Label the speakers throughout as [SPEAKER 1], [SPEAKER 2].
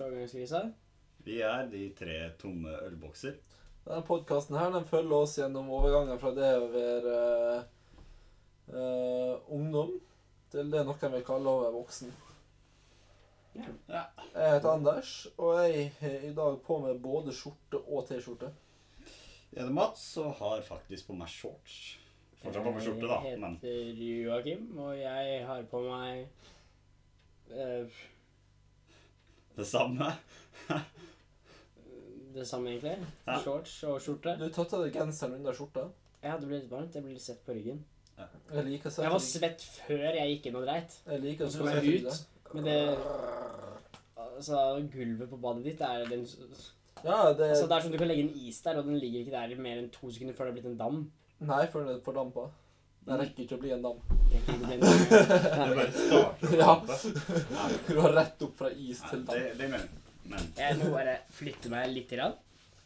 [SPEAKER 1] eh, Lisa.
[SPEAKER 2] Vi er de tre tomme ølbokser.
[SPEAKER 3] Denne podkasten her, den følger oss gjennom overgangen fra det å være eh, eh, ungdom til det noen vil kalle å være voksen.
[SPEAKER 1] Ja.
[SPEAKER 2] Ja.
[SPEAKER 3] Jeg heter Anders, og jeg har i dag på meg både skjorte og T-skjorte.
[SPEAKER 2] Jeg heter Mats og har faktisk på meg shorts. Fortsatt på meg skjorte, da.
[SPEAKER 1] Jeg
[SPEAKER 2] Men
[SPEAKER 1] heter Joakim, og jeg har på meg eh,
[SPEAKER 2] det samme.
[SPEAKER 1] det samme, egentlig.
[SPEAKER 2] Ja.
[SPEAKER 1] Shorts og skjorte.
[SPEAKER 3] Du tatt av deg genseren under skjorta.
[SPEAKER 1] Ja, det ble litt varmt. Jeg ble litt svett på ryggen.
[SPEAKER 3] Jeg liker å se
[SPEAKER 1] Jeg var svett før jeg gikk inn og dreit.
[SPEAKER 3] Jeg liker å
[SPEAKER 1] Så
[SPEAKER 3] se
[SPEAKER 1] kom jeg
[SPEAKER 3] til
[SPEAKER 1] ut,
[SPEAKER 3] deg.
[SPEAKER 1] Men det Altså, gulvet på badet ditt er den Altså,
[SPEAKER 3] Ja, det
[SPEAKER 1] det er som du kan legge en is der, og den ligger ikke der i mer enn to sekunder før det er blitt en dam.
[SPEAKER 3] Nei, for den er fordampa. Den rekker ikke å bli en dam.
[SPEAKER 1] Det er ikke det blir en
[SPEAKER 2] Det
[SPEAKER 1] dam.
[SPEAKER 2] bare starter
[SPEAKER 3] Ja.
[SPEAKER 2] på toppen.
[SPEAKER 3] Du har rett opp fra is
[SPEAKER 2] Nei,
[SPEAKER 3] til
[SPEAKER 2] Det,
[SPEAKER 3] dam.
[SPEAKER 2] det mener jeg. Men
[SPEAKER 1] Jeg må bare flytte meg litt. Grann.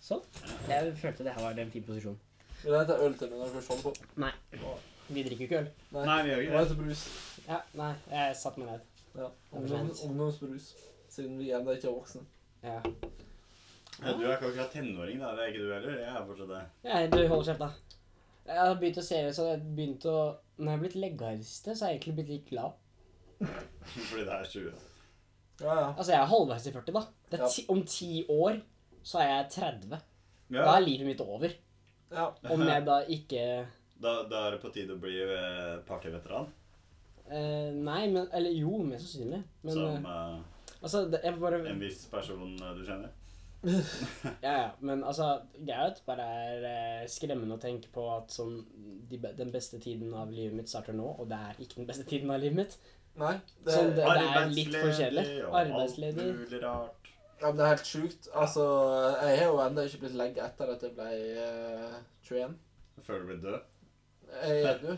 [SPEAKER 1] Sånn. Jeg følte det her var en fin posisjon.
[SPEAKER 3] Vil du hente øl til meg når du først holder på?
[SPEAKER 1] Nei. Vi drikker jo ikke øl.
[SPEAKER 3] Nei.
[SPEAKER 2] Nei, vi gjør
[SPEAKER 3] Nå
[SPEAKER 2] ikke
[SPEAKER 3] er
[SPEAKER 2] det.
[SPEAKER 3] det brus.
[SPEAKER 1] Ja, nei, jeg satte meg ned.
[SPEAKER 3] Ja. Ungdom, ungdomsbrus. Siden vi ennå ikke er voksne.
[SPEAKER 1] Ja.
[SPEAKER 2] Ja, Du er ikke akkurat tenåring, da. Det er ikke du heller. Jeg er fortsatt det.
[SPEAKER 1] Nei, du holder kjeft, da. Jeg har begynt å se det, så jeg har begynt å Når jeg har blitt legga i det siste, så har jeg egentlig blitt litt glad.
[SPEAKER 2] Fordi det er 20.
[SPEAKER 3] Ja, ja.
[SPEAKER 1] Altså, jeg er halvveis i 40, da. Det
[SPEAKER 3] Ja.
[SPEAKER 1] er ti, om ti år så er jeg 30.
[SPEAKER 2] Ja,
[SPEAKER 1] Da er livet mitt over.
[SPEAKER 3] ja.
[SPEAKER 1] Om jeg da ikke
[SPEAKER 2] da, da er det på tide å bli eh, partyveteran.
[SPEAKER 1] eh, Nei, men Eller jo, mest sannsynlig. Men
[SPEAKER 2] Som
[SPEAKER 1] eh,
[SPEAKER 2] eh,
[SPEAKER 1] altså, det, jeg bare
[SPEAKER 2] en viss person eh, du kjenner.
[SPEAKER 1] Ja, ja. Men altså, greia er at det bare er eh, skremmende å tenke på at sånn de, be- Den beste tiden av livet mitt starter nå, og det er ikke den beste tiden av livet mitt.
[SPEAKER 3] Nei. Det,
[SPEAKER 1] Sånn, det-
[SPEAKER 3] ja,
[SPEAKER 1] er litt for kjedelig.
[SPEAKER 2] og alt
[SPEAKER 1] Arbeidsledig.
[SPEAKER 2] mulig rart.
[SPEAKER 3] men det er helt sjukt. Altså, jeg har jo ennå ikke blitt legget etter at jeg ble eh, 21.
[SPEAKER 2] Før du blir død.
[SPEAKER 3] Jeg er du.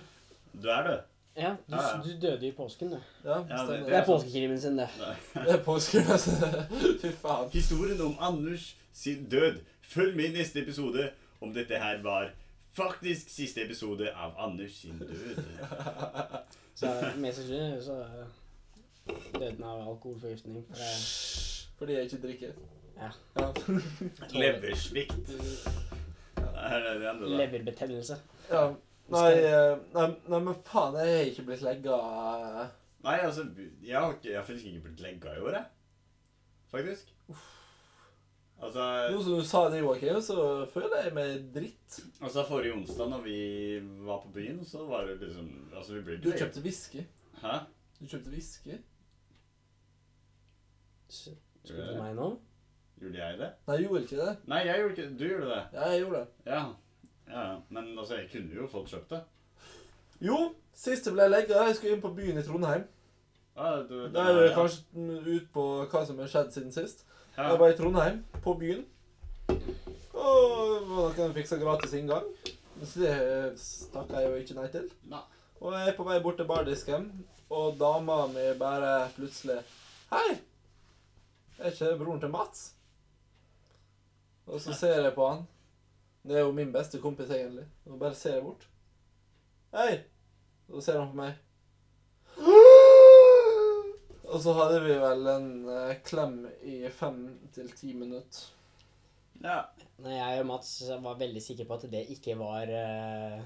[SPEAKER 2] Du er død.
[SPEAKER 1] Ja, du,
[SPEAKER 2] Ja, ja.
[SPEAKER 1] du døde jo i påsken, du.
[SPEAKER 3] Ja,
[SPEAKER 2] Ja, det-
[SPEAKER 3] stemmer.
[SPEAKER 1] Det er påskekrimen sin, det.
[SPEAKER 3] Det er påske. Fy faen.
[SPEAKER 2] Historien om Anders sin død. Følg med i neste episode om dette her var faktisk siste episode av Anders sin død.
[SPEAKER 1] Så mest sannsynlig så døde den av alkoholforgiftning. For
[SPEAKER 3] Fordi
[SPEAKER 1] det,
[SPEAKER 3] jeg ikke drikker.
[SPEAKER 1] Ja.
[SPEAKER 3] Ja.
[SPEAKER 2] Leversvikt. Er det det andre der?
[SPEAKER 1] leverbetennelse.
[SPEAKER 3] ja. Nei, eh, nei, nei, men faen, jeg har ikke blitt legget... eh,
[SPEAKER 2] Nei, altså, jeg har, ikke, jeg har faktisk ikke blitt legga i år, jeg. Faktisk. Altså,
[SPEAKER 3] Nå som du sa det, Joakim, så føler jeg meg dritt.
[SPEAKER 2] altså, forrige onsdag når vi var på byen, så var det liksom Altså, vi ble
[SPEAKER 3] Du kjøpte whisky.
[SPEAKER 2] Hæ?
[SPEAKER 3] Du kjøpte whisky.
[SPEAKER 1] S- Spør du meg nå?
[SPEAKER 2] Gjorde jeg det?
[SPEAKER 3] Nei, jeg gjorde ikke det.
[SPEAKER 2] Nei, jeg gjorde ikke det. Du gjorde det.
[SPEAKER 3] Ja, jeg gjorde det.
[SPEAKER 2] Ja. ja. ja. Men altså, jeg kunne jo fått kjøpt det.
[SPEAKER 3] Jo, sist jeg ble legga, jeg skulle inn på byen i Trondheim.
[SPEAKER 2] Ja, du, du,
[SPEAKER 3] Da er vi
[SPEAKER 2] ja.
[SPEAKER 3] kanskje mm, ut på hva som har skjedd siden sist.
[SPEAKER 2] Ja.
[SPEAKER 3] Jeg var i Trondheim, på byen. Og var noen fiksa gratis inngang. Så det stakk jeg jo ikke nei til.
[SPEAKER 2] Nei.
[SPEAKER 3] Og jeg er på vei bort til bardisken, og dama mi bare plutselig Hei! Er ikke det broren til Mats? Og så ser jeg på han. Det er jo min beste kompis, egentlig. Og bare ser jeg bort. Hei! Og så ser han på meg. Og så hadde vi vel en eh, klem i fem til ti minutter.
[SPEAKER 2] Ja.
[SPEAKER 1] Nei, jeg og Mats var veldig sikre på at det ikke var eh,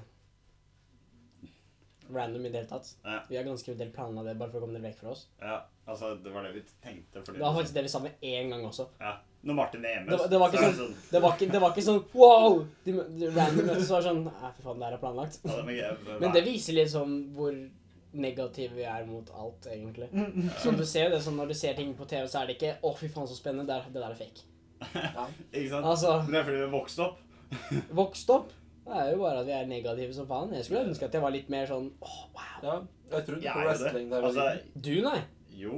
[SPEAKER 1] random i det hele tatt.
[SPEAKER 2] Ja.
[SPEAKER 1] Vi har ganske del planer av det, bare for å komme dere vekk fra oss.
[SPEAKER 2] ja. Altså, det var det vi tenkte. Fordi
[SPEAKER 1] Det var faktisk det vi sa med én gang også.
[SPEAKER 2] Ja. Når Martin er hjemme,
[SPEAKER 1] Det var- det var ikke
[SPEAKER 2] så er
[SPEAKER 1] sånn- Det var ikke, det var ikke sånn wow! De, de random møtes var sånn Nei, fy faen, det her er planlagt.
[SPEAKER 2] Ja, det var-
[SPEAKER 1] Men det viser liksom hvor negative vi er mot alt, egentlig. Som du ser jo det, sånn Når du ser ting på TV, så er det ikke 'Å, fy faen, så spennende'. Det, er- det der er fake.
[SPEAKER 2] Ikke sant?
[SPEAKER 1] Altså,
[SPEAKER 2] Men det er fordi vi er vokst opp.
[SPEAKER 1] vokst opp det er jo bare at vi er negative som faen. Jeg skulle ønske at jeg var litt mer sånn Åh, wow.
[SPEAKER 3] Ja, jeg trodde
[SPEAKER 2] Jeg
[SPEAKER 3] på
[SPEAKER 2] er jo
[SPEAKER 3] wrestling
[SPEAKER 2] det.
[SPEAKER 3] da jeg var
[SPEAKER 2] Altså,
[SPEAKER 3] liten.
[SPEAKER 1] Du, nei.
[SPEAKER 2] jo.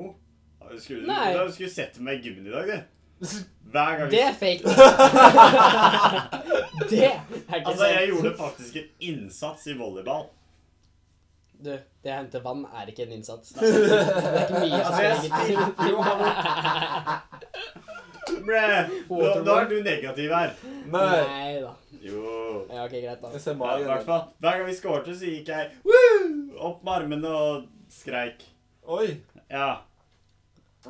[SPEAKER 2] Skulle,
[SPEAKER 1] Nei.
[SPEAKER 2] Du, du skulle sett meg i gymmen i dag, du. Hver gang vi
[SPEAKER 1] Det er fake. det er ikke
[SPEAKER 2] Altså,
[SPEAKER 1] sant.
[SPEAKER 2] jeg gjorde faktisk en innsats i volleyball.
[SPEAKER 1] Du, det å hente vann er ikke en innsats. Det er ikke mye som
[SPEAKER 2] Altså, jeg
[SPEAKER 1] skal legge til.
[SPEAKER 2] spilte jo Blæ! Nå, nå er du negativ her.
[SPEAKER 3] Nei!
[SPEAKER 1] Nei da.
[SPEAKER 2] Jo.
[SPEAKER 1] Ja, ok, greit, da.
[SPEAKER 3] Jeg ser
[SPEAKER 2] Ja, I hvert
[SPEAKER 3] magen.
[SPEAKER 2] fall. Hver gang vi skårte, så gikk jeg Woo! opp med armene og skreik.
[SPEAKER 3] Oi!
[SPEAKER 2] Ja.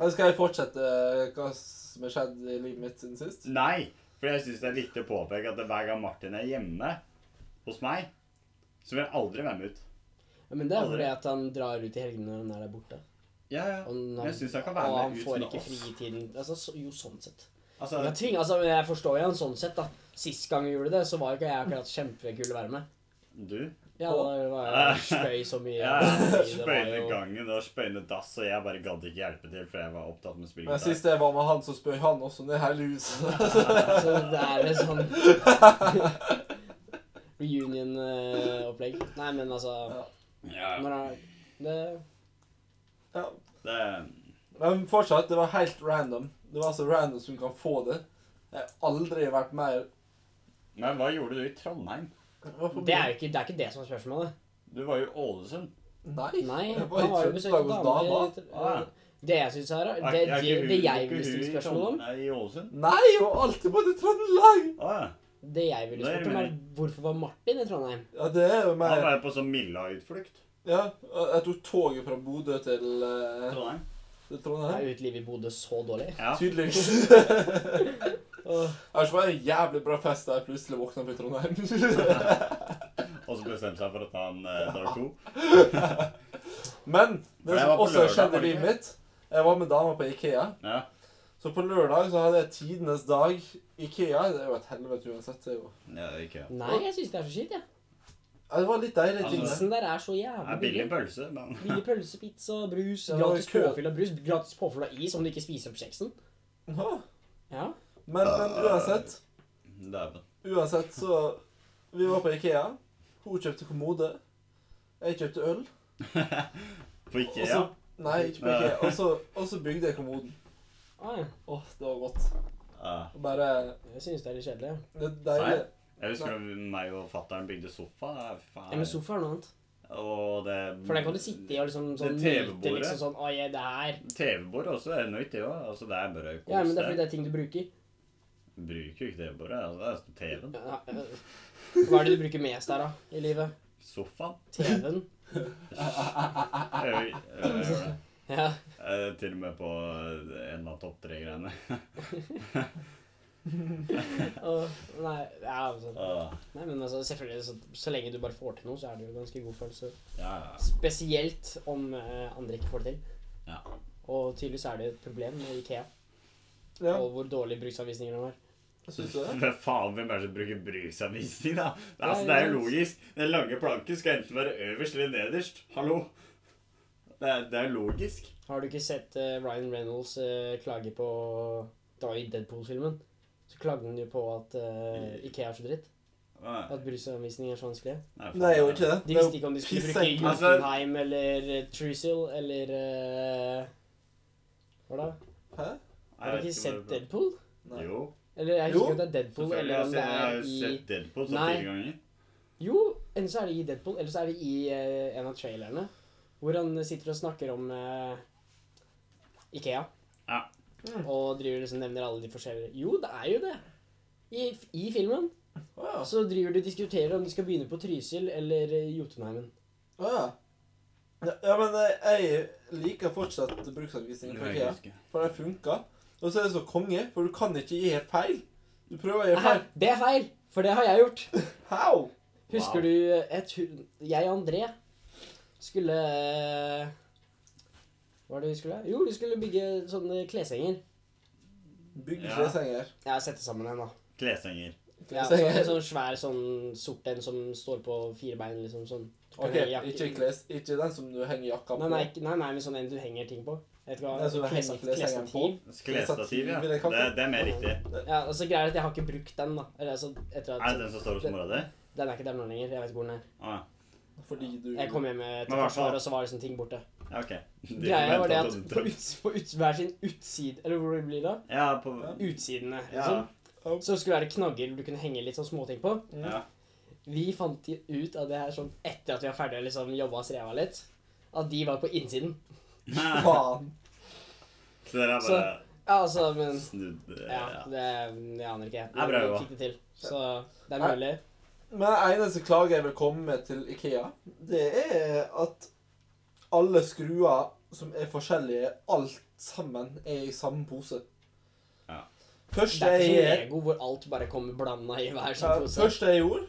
[SPEAKER 3] Eller Skal jeg fortsette eh, hva som har skjedd i livet mitt siden sist?
[SPEAKER 2] Nei, for jeg syns det er viktig å påpeke at hver gang Martin er hjemme hos meg, så vil jeg aldri være med ut.
[SPEAKER 1] Ja, Men det er
[SPEAKER 2] Aldri.
[SPEAKER 1] fordi at han drar ut i helgene når han er der borte.
[SPEAKER 2] Ja, ja.
[SPEAKER 1] Og han-
[SPEAKER 2] Men jeg syns han
[SPEAKER 1] Og
[SPEAKER 2] kan være
[SPEAKER 1] han
[SPEAKER 2] med ut
[SPEAKER 1] får
[SPEAKER 2] med
[SPEAKER 1] ikke
[SPEAKER 2] oss.
[SPEAKER 1] fritiden altså, så, Jo, sånn sett.
[SPEAKER 2] Altså,
[SPEAKER 1] Men Jeg, tvinger, altså, men jeg forstår jo han sånn sett, da. Sist gang vi gjorde det, så var jo ikke jeg akkurat kjempekul å være med.
[SPEAKER 2] du
[SPEAKER 1] Ja, da var jeg spøy så mye.
[SPEAKER 2] ja,
[SPEAKER 1] Det var
[SPEAKER 2] spøyne
[SPEAKER 1] jo-
[SPEAKER 2] gangen og spøyne dass, og jeg bare gadd ikke hjelpe til, for jeg var opptatt med
[SPEAKER 3] Men
[SPEAKER 2] spillet.
[SPEAKER 3] sist jeg var med han, så spøy han også ned hele huset.
[SPEAKER 1] Så det er litt sånn reunion-opplegg. Nei, men altså
[SPEAKER 2] Ja,
[SPEAKER 1] når han, det,
[SPEAKER 3] Ja.
[SPEAKER 2] det,
[SPEAKER 3] Men fortsatt, det var helt random. Det var så random som kan få det. Jeg har aldri vært mer
[SPEAKER 2] men hva gjorde du i Trondheim?
[SPEAKER 3] Jeg var på
[SPEAKER 1] det, er jo ikke, det er ikke det som er spørsmålet.
[SPEAKER 2] Du var jo i Ålesund.
[SPEAKER 3] Nei.
[SPEAKER 1] Nei,
[SPEAKER 3] jeg
[SPEAKER 1] han
[SPEAKER 3] var i
[SPEAKER 1] har jo besøkt
[SPEAKER 3] Trøndelag hos
[SPEAKER 1] damer
[SPEAKER 3] dama.
[SPEAKER 1] i-
[SPEAKER 2] Ah.
[SPEAKER 1] Det jeg syns er
[SPEAKER 2] Er-
[SPEAKER 1] det,
[SPEAKER 2] er
[SPEAKER 1] det,
[SPEAKER 2] ikke hun-
[SPEAKER 1] det
[SPEAKER 2] er
[SPEAKER 1] jeg ville
[SPEAKER 2] ikke hun
[SPEAKER 1] stille
[SPEAKER 2] i
[SPEAKER 1] spørsmål om,
[SPEAKER 2] Trond- nei, I Ålesund?
[SPEAKER 3] Nei, jeg var alltid både i Trøndelag!
[SPEAKER 2] Å ja.
[SPEAKER 1] det jeg ville
[SPEAKER 2] Nei,
[SPEAKER 1] spurt om,
[SPEAKER 2] men-
[SPEAKER 1] er hvorfor var Martin i Trondheim?
[SPEAKER 3] Ja, det er jo
[SPEAKER 2] Han
[SPEAKER 3] mer
[SPEAKER 2] var jo på sånn Milla-utflukt.
[SPEAKER 3] Ja, jeg tok toget fra Bodø til, eh,
[SPEAKER 2] Trondheim.
[SPEAKER 3] til
[SPEAKER 1] Er
[SPEAKER 3] Trondheim.
[SPEAKER 1] utelivet i Bodø så dårlig?
[SPEAKER 2] Ja.
[SPEAKER 3] Tydeligvis.
[SPEAKER 1] Åh,
[SPEAKER 3] Ellers var det en jævlig bra fest da jeg plutselig våkna opp i Trondheim.
[SPEAKER 2] Og så bestemte seg for å ta en eh, dag to.
[SPEAKER 3] Men
[SPEAKER 2] For
[SPEAKER 3] det
[SPEAKER 2] jeg var
[SPEAKER 3] som
[SPEAKER 2] på
[SPEAKER 3] også
[SPEAKER 2] lørdag,
[SPEAKER 3] skjedde
[SPEAKER 2] var
[SPEAKER 3] i
[SPEAKER 2] det
[SPEAKER 3] livet
[SPEAKER 2] ikke?
[SPEAKER 3] mitt Jeg var med dama på Ikea.
[SPEAKER 2] Ja.
[SPEAKER 3] Så på lørdag så hadde jeg tidenes dag. Ikea det er jo et helvete uansett. Det, er jo.
[SPEAKER 2] ja ikke.
[SPEAKER 1] Nei, jeg syns det er så skitt, jeg.
[SPEAKER 3] Ja, det var litt deilig ting.
[SPEAKER 2] Altså,
[SPEAKER 3] det.
[SPEAKER 1] Prisen der er så
[SPEAKER 2] Det
[SPEAKER 1] jævlig
[SPEAKER 2] er billig
[SPEAKER 1] billig.
[SPEAKER 2] pølse, men
[SPEAKER 1] Billig pølse, pizza, brus,
[SPEAKER 3] Ja, det var
[SPEAKER 1] gratis
[SPEAKER 3] kø.
[SPEAKER 1] påfyll av brus, gratis påfyll av is om du ikke spiser opp kjeksen.
[SPEAKER 3] Ja.
[SPEAKER 1] Ja.
[SPEAKER 3] Men, men uansett
[SPEAKER 2] Dæven.
[SPEAKER 3] Uansett, så Vi var på Ikea. Hun kjøpte kommode. Jeg kjøpte øl.
[SPEAKER 2] På
[SPEAKER 3] Og
[SPEAKER 2] Ikea?
[SPEAKER 3] så Nei, ikke på Ikea. Og så, og så bygde jeg kommoden.
[SPEAKER 1] Ah, ja.
[SPEAKER 3] Åh, det var godt.
[SPEAKER 2] Ja.
[SPEAKER 3] Og Bare
[SPEAKER 1] Jeg synes det er litt kjedelig. ja.
[SPEAKER 3] Det er deilig.
[SPEAKER 2] Jeg husker da meg og fatter'n bygde sofa. ja, Faen.
[SPEAKER 1] Ja, men sofa er noe annet.
[SPEAKER 2] Og det
[SPEAKER 1] For den kan du sitte i og liksom sånn
[SPEAKER 2] Det er
[SPEAKER 1] nyte
[SPEAKER 2] TV-bordet.
[SPEAKER 1] liksom sånn Å, jeg, det her.
[SPEAKER 2] TV-bordet også er nøyt, det òg. Altså, det er bare kos.
[SPEAKER 1] Ja, men det er
[SPEAKER 2] det.
[SPEAKER 1] fordi det er ting du bruker.
[SPEAKER 2] Bruker jo ikke TV-bordet. Altså, det er TV-en.
[SPEAKER 1] Ja, øh. Hva er det du bruker mest der, da? I livet?
[SPEAKER 2] Sofaen.
[SPEAKER 1] TV-en?
[SPEAKER 2] Jeg gjør- jeg gjør det.
[SPEAKER 1] Ja.
[SPEAKER 2] Eh, Til og med på eh, en av topp tre-greiene.
[SPEAKER 1] Og, nei, ja, altså.
[SPEAKER 2] Ah,
[SPEAKER 1] nei, men altså, selvfølgelig, så, så lenge du bare får til noe, så er det jo ganske god følelse.
[SPEAKER 2] Ja, ja.
[SPEAKER 1] Spesielt om eh, andre ikke får det til.
[SPEAKER 2] Ja.
[SPEAKER 1] Og tydeligvis er det et problem med Ikea,
[SPEAKER 3] Ja,
[SPEAKER 1] og hvor dårlige bruksanvisninger de har.
[SPEAKER 3] syns du det?
[SPEAKER 2] Hva faen, hvem er det som bruker brusanvisning, da? Det er,
[SPEAKER 1] Ja,
[SPEAKER 2] altså, det er jo
[SPEAKER 1] ja.
[SPEAKER 2] logisk. Den lange planken skal enten være øverst eller nederst. Hallo? Det er, det er logisk.
[SPEAKER 1] Har du ikke sett eh, Ryan Reynolds eh, klage på Da i Deadpool-filmen, så klagde han jo på at eh, Ikea er så dritt.
[SPEAKER 2] Ah,
[SPEAKER 1] At bruksanvisninger er så vanskelig.
[SPEAKER 2] faen.
[SPEAKER 3] Nei, jeg gjorde ikke det.
[SPEAKER 1] De visste ikke om de skulle bruke
[SPEAKER 3] Pissenk.
[SPEAKER 2] Altså-
[SPEAKER 1] Jotunheim eller eh, Trusil eller eh, Hva da?
[SPEAKER 3] Hæ?
[SPEAKER 2] Jeg
[SPEAKER 1] Har du
[SPEAKER 2] vet
[SPEAKER 1] ikke sett
[SPEAKER 2] hva det er.
[SPEAKER 1] Deadpool?
[SPEAKER 3] Nei.
[SPEAKER 2] Jo,
[SPEAKER 1] Eller jeg husker
[SPEAKER 3] Jo,
[SPEAKER 1] ikke om det er Deadpool,
[SPEAKER 2] selvfølgelig.
[SPEAKER 1] eller om
[SPEAKER 2] Altså,
[SPEAKER 1] det
[SPEAKER 2] jeg har
[SPEAKER 1] er
[SPEAKER 2] jo
[SPEAKER 1] i
[SPEAKER 2] sett Deadpool sånn
[SPEAKER 1] Nei.
[SPEAKER 2] fire ganger.
[SPEAKER 1] Jo, enten så er det i Deadpool, eller så er det i eh, en av trailerne. Hvor han sitter og snakker om eh, Ikea.
[SPEAKER 2] Ja.
[SPEAKER 1] Og driver liksom nevner alle de forskjellige Jo, det er jo det! I, i filmen.
[SPEAKER 3] Å ja.
[SPEAKER 1] Så driver de og diskuterer om de skal begynne på Trysil eller eh, Jotunheimen.
[SPEAKER 3] Å ja. Ja, ja, men eh, jeg liker fortsatt bruksanvisningen på
[SPEAKER 2] Jeg
[SPEAKER 3] Ikea.
[SPEAKER 2] husker.
[SPEAKER 3] For den funka. Og så er det så konge, for du kan ikke gi helt feil. Du prøver å gjøre
[SPEAKER 1] Nei,
[SPEAKER 3] feil.
[SPEAKER 1] det er feil! For det har jeg gjort.
[SPEAKER 3] How?
[SPEAKER 1] Husker
[SPEAKER 2] Wow.
[SPEAKER 1] du eh, et hu- Jeg og André skulle eh, Hva var det vi skulle? Jo, vi skulle bygge sånne kleshenger.
[SPEAKER 3] Bygge
[SPEAKER 2] Ja.
[SPEAKER 3] tresenger.
[SPEAKER 1] Jeg har sett det sammen en, da.
[SPEAKER 2] Kleshenger.
[SPEAKER 1] Ja, så,
[SPEAKER 3] Tresenger.
[SPEAKER 1] en sånn svær sånn sort en som står på fire bein, liksom sånn.
[SPEAKER 3] OK, ikke kles... Ikke den som du henger jakka på.
[SPEAKER 1] Nei, nei, ikke- nei, nei, men sånn en du henger ting på. Jeg vet ikke
[SPEAKER 3] Den som
[SPEAKER 1] hva.
[SPEAKER 3] du henger
[SPEAKER 1] klesa-
[SPEAKER 3] kleshengeren
[SPEAKER 1] Klesstativ.
[SPEAKER 2] Klesstativ, ja.
[SPEAKER 3] vil jeg kalle
[SPEAKER 2] Det,
[SPEAKER 3] det.
[SPEAKER 2] det er mer riktig.
[SPEAKER 1] Ja, altså greia er at jeg har ikke brukt den, da. Eller altså, etter
[SPEAKER 2] Er det
[SPEAKER 1] at
[SPEAKER 2] den som står hos mora di?
[SPEAKER 1] Den er ikke der nå lenger. Jeg vet ikke hvor den er.
[SPEAKER 2] Ah,
[SPEAKER 3] Fordi du
[SPEAKER 1] Jeg kom hjem etter
[SPEAKER 2] Men i hvert fall-
[SPEAKER 1] forsvaret, og så var liksom ting borte.
[SPEAKER 2] ja, ok. De
[SPEAKER 1] Greia var det at
[SPEAKER 2] forventet
[SPEAKER 1] på,
[SPEAKER 2] at du-
[SPEAKER 1] uts, på uts, hver sin utside Eller hvor det blir da?
[SPEAKER 2] Ja, på
[SPEAKER 1] Utsidene.
[SPEAKER 2] Ja.
[SPEAKER 1] Sånn. Så skulle det være knagger du kunne henge litt sånn småting på.
[SPEAKER 2] ja.
[SPEAKER 1] Vi fant i- ut av det her sånn etter at vi var ferdige og liksom jobba oss ræva litt, at de var på innsiden.
[SPEAKER 3] Faen.
[SPEAKER 2] Så dere er
[SPEAKER 1] Så-
[SPEAKER 2] bare
[SPEAKER 1] Ja, altså, men
[SPEAKER 2] snudd eh,
[SPEAKER 1] Ja,
[SPEAKER 2] ja.
[SPEAKER 1] det jeg aner ikke.
[SPEAKER 2] Det er bra
[SPEAKER 1] Vi
[SPEAKER 2] jobba.
[SPEAKER 1] fikk det til. Så det er
[SPEAKER 3] Ja.
[SPEAKER 1] mulig.
[SPEAKER 3] Men den eneste klagen jeg vil komme med til Ikea, det er at alle skruer som er forskjellige, er alltid sammen er i samme pose.
[SPEAKER 2] Ja.
[SPEAKER 3] Først
[SPEAKER 1] Det er ikke som
[SPEAKER 3] jeg
[SPEAKER 1] Lego hvor alt bare kommer blanda i hver sånn
[SPEAKER 3] Ja,
[SPEAKER 1] sin pose.
[SPEAKER 3] første jeg gjorde,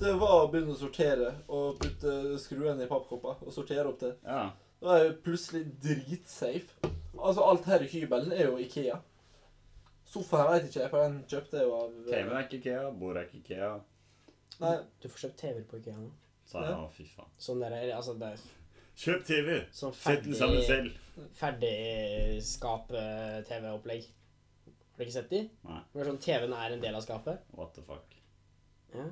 [SPEAKER 3] det var å begynne å sortere og putte skruene i pappkopper og sortere opp det.
[SPEAKER 2] Ja.
[SPEAKER 3] Da er jeg plutselig dritsafe. Altså, alt her i hybelen er jo Ikea. Sofaen veit ikke jeg, for den kjøpte jeg jo av eh,
[SPEAKER 2] TV-en er ikke Ikea, bordet er ikke Ikea.
[SPEAKER 3] Nei,
[SPEAKER 1] Du får kjøpt TV-er på Ikea nå.
[SPEAKER 2] Sa jeg, å fy faen.
[SPEAKER 1] Sånn der, altså det er
[SPEAKER 2] Kjøp TV!
[SPEAKER 1] sånn
[SPEAKER 2] Sett den sammen
[SPEAKER 1] ferdig,
[SPEAKER 2] selv.
[SPEAKER 1] ferdig skap-TV-opplegg. Har du ikke sett de?
[SPEAKER 2] Nei.
[SPEAKER 1] Hvor det er sånn TV-en er en del av skapet.
[SPEAKER 2] What the fuck.
[SPEAKER 1] Ja.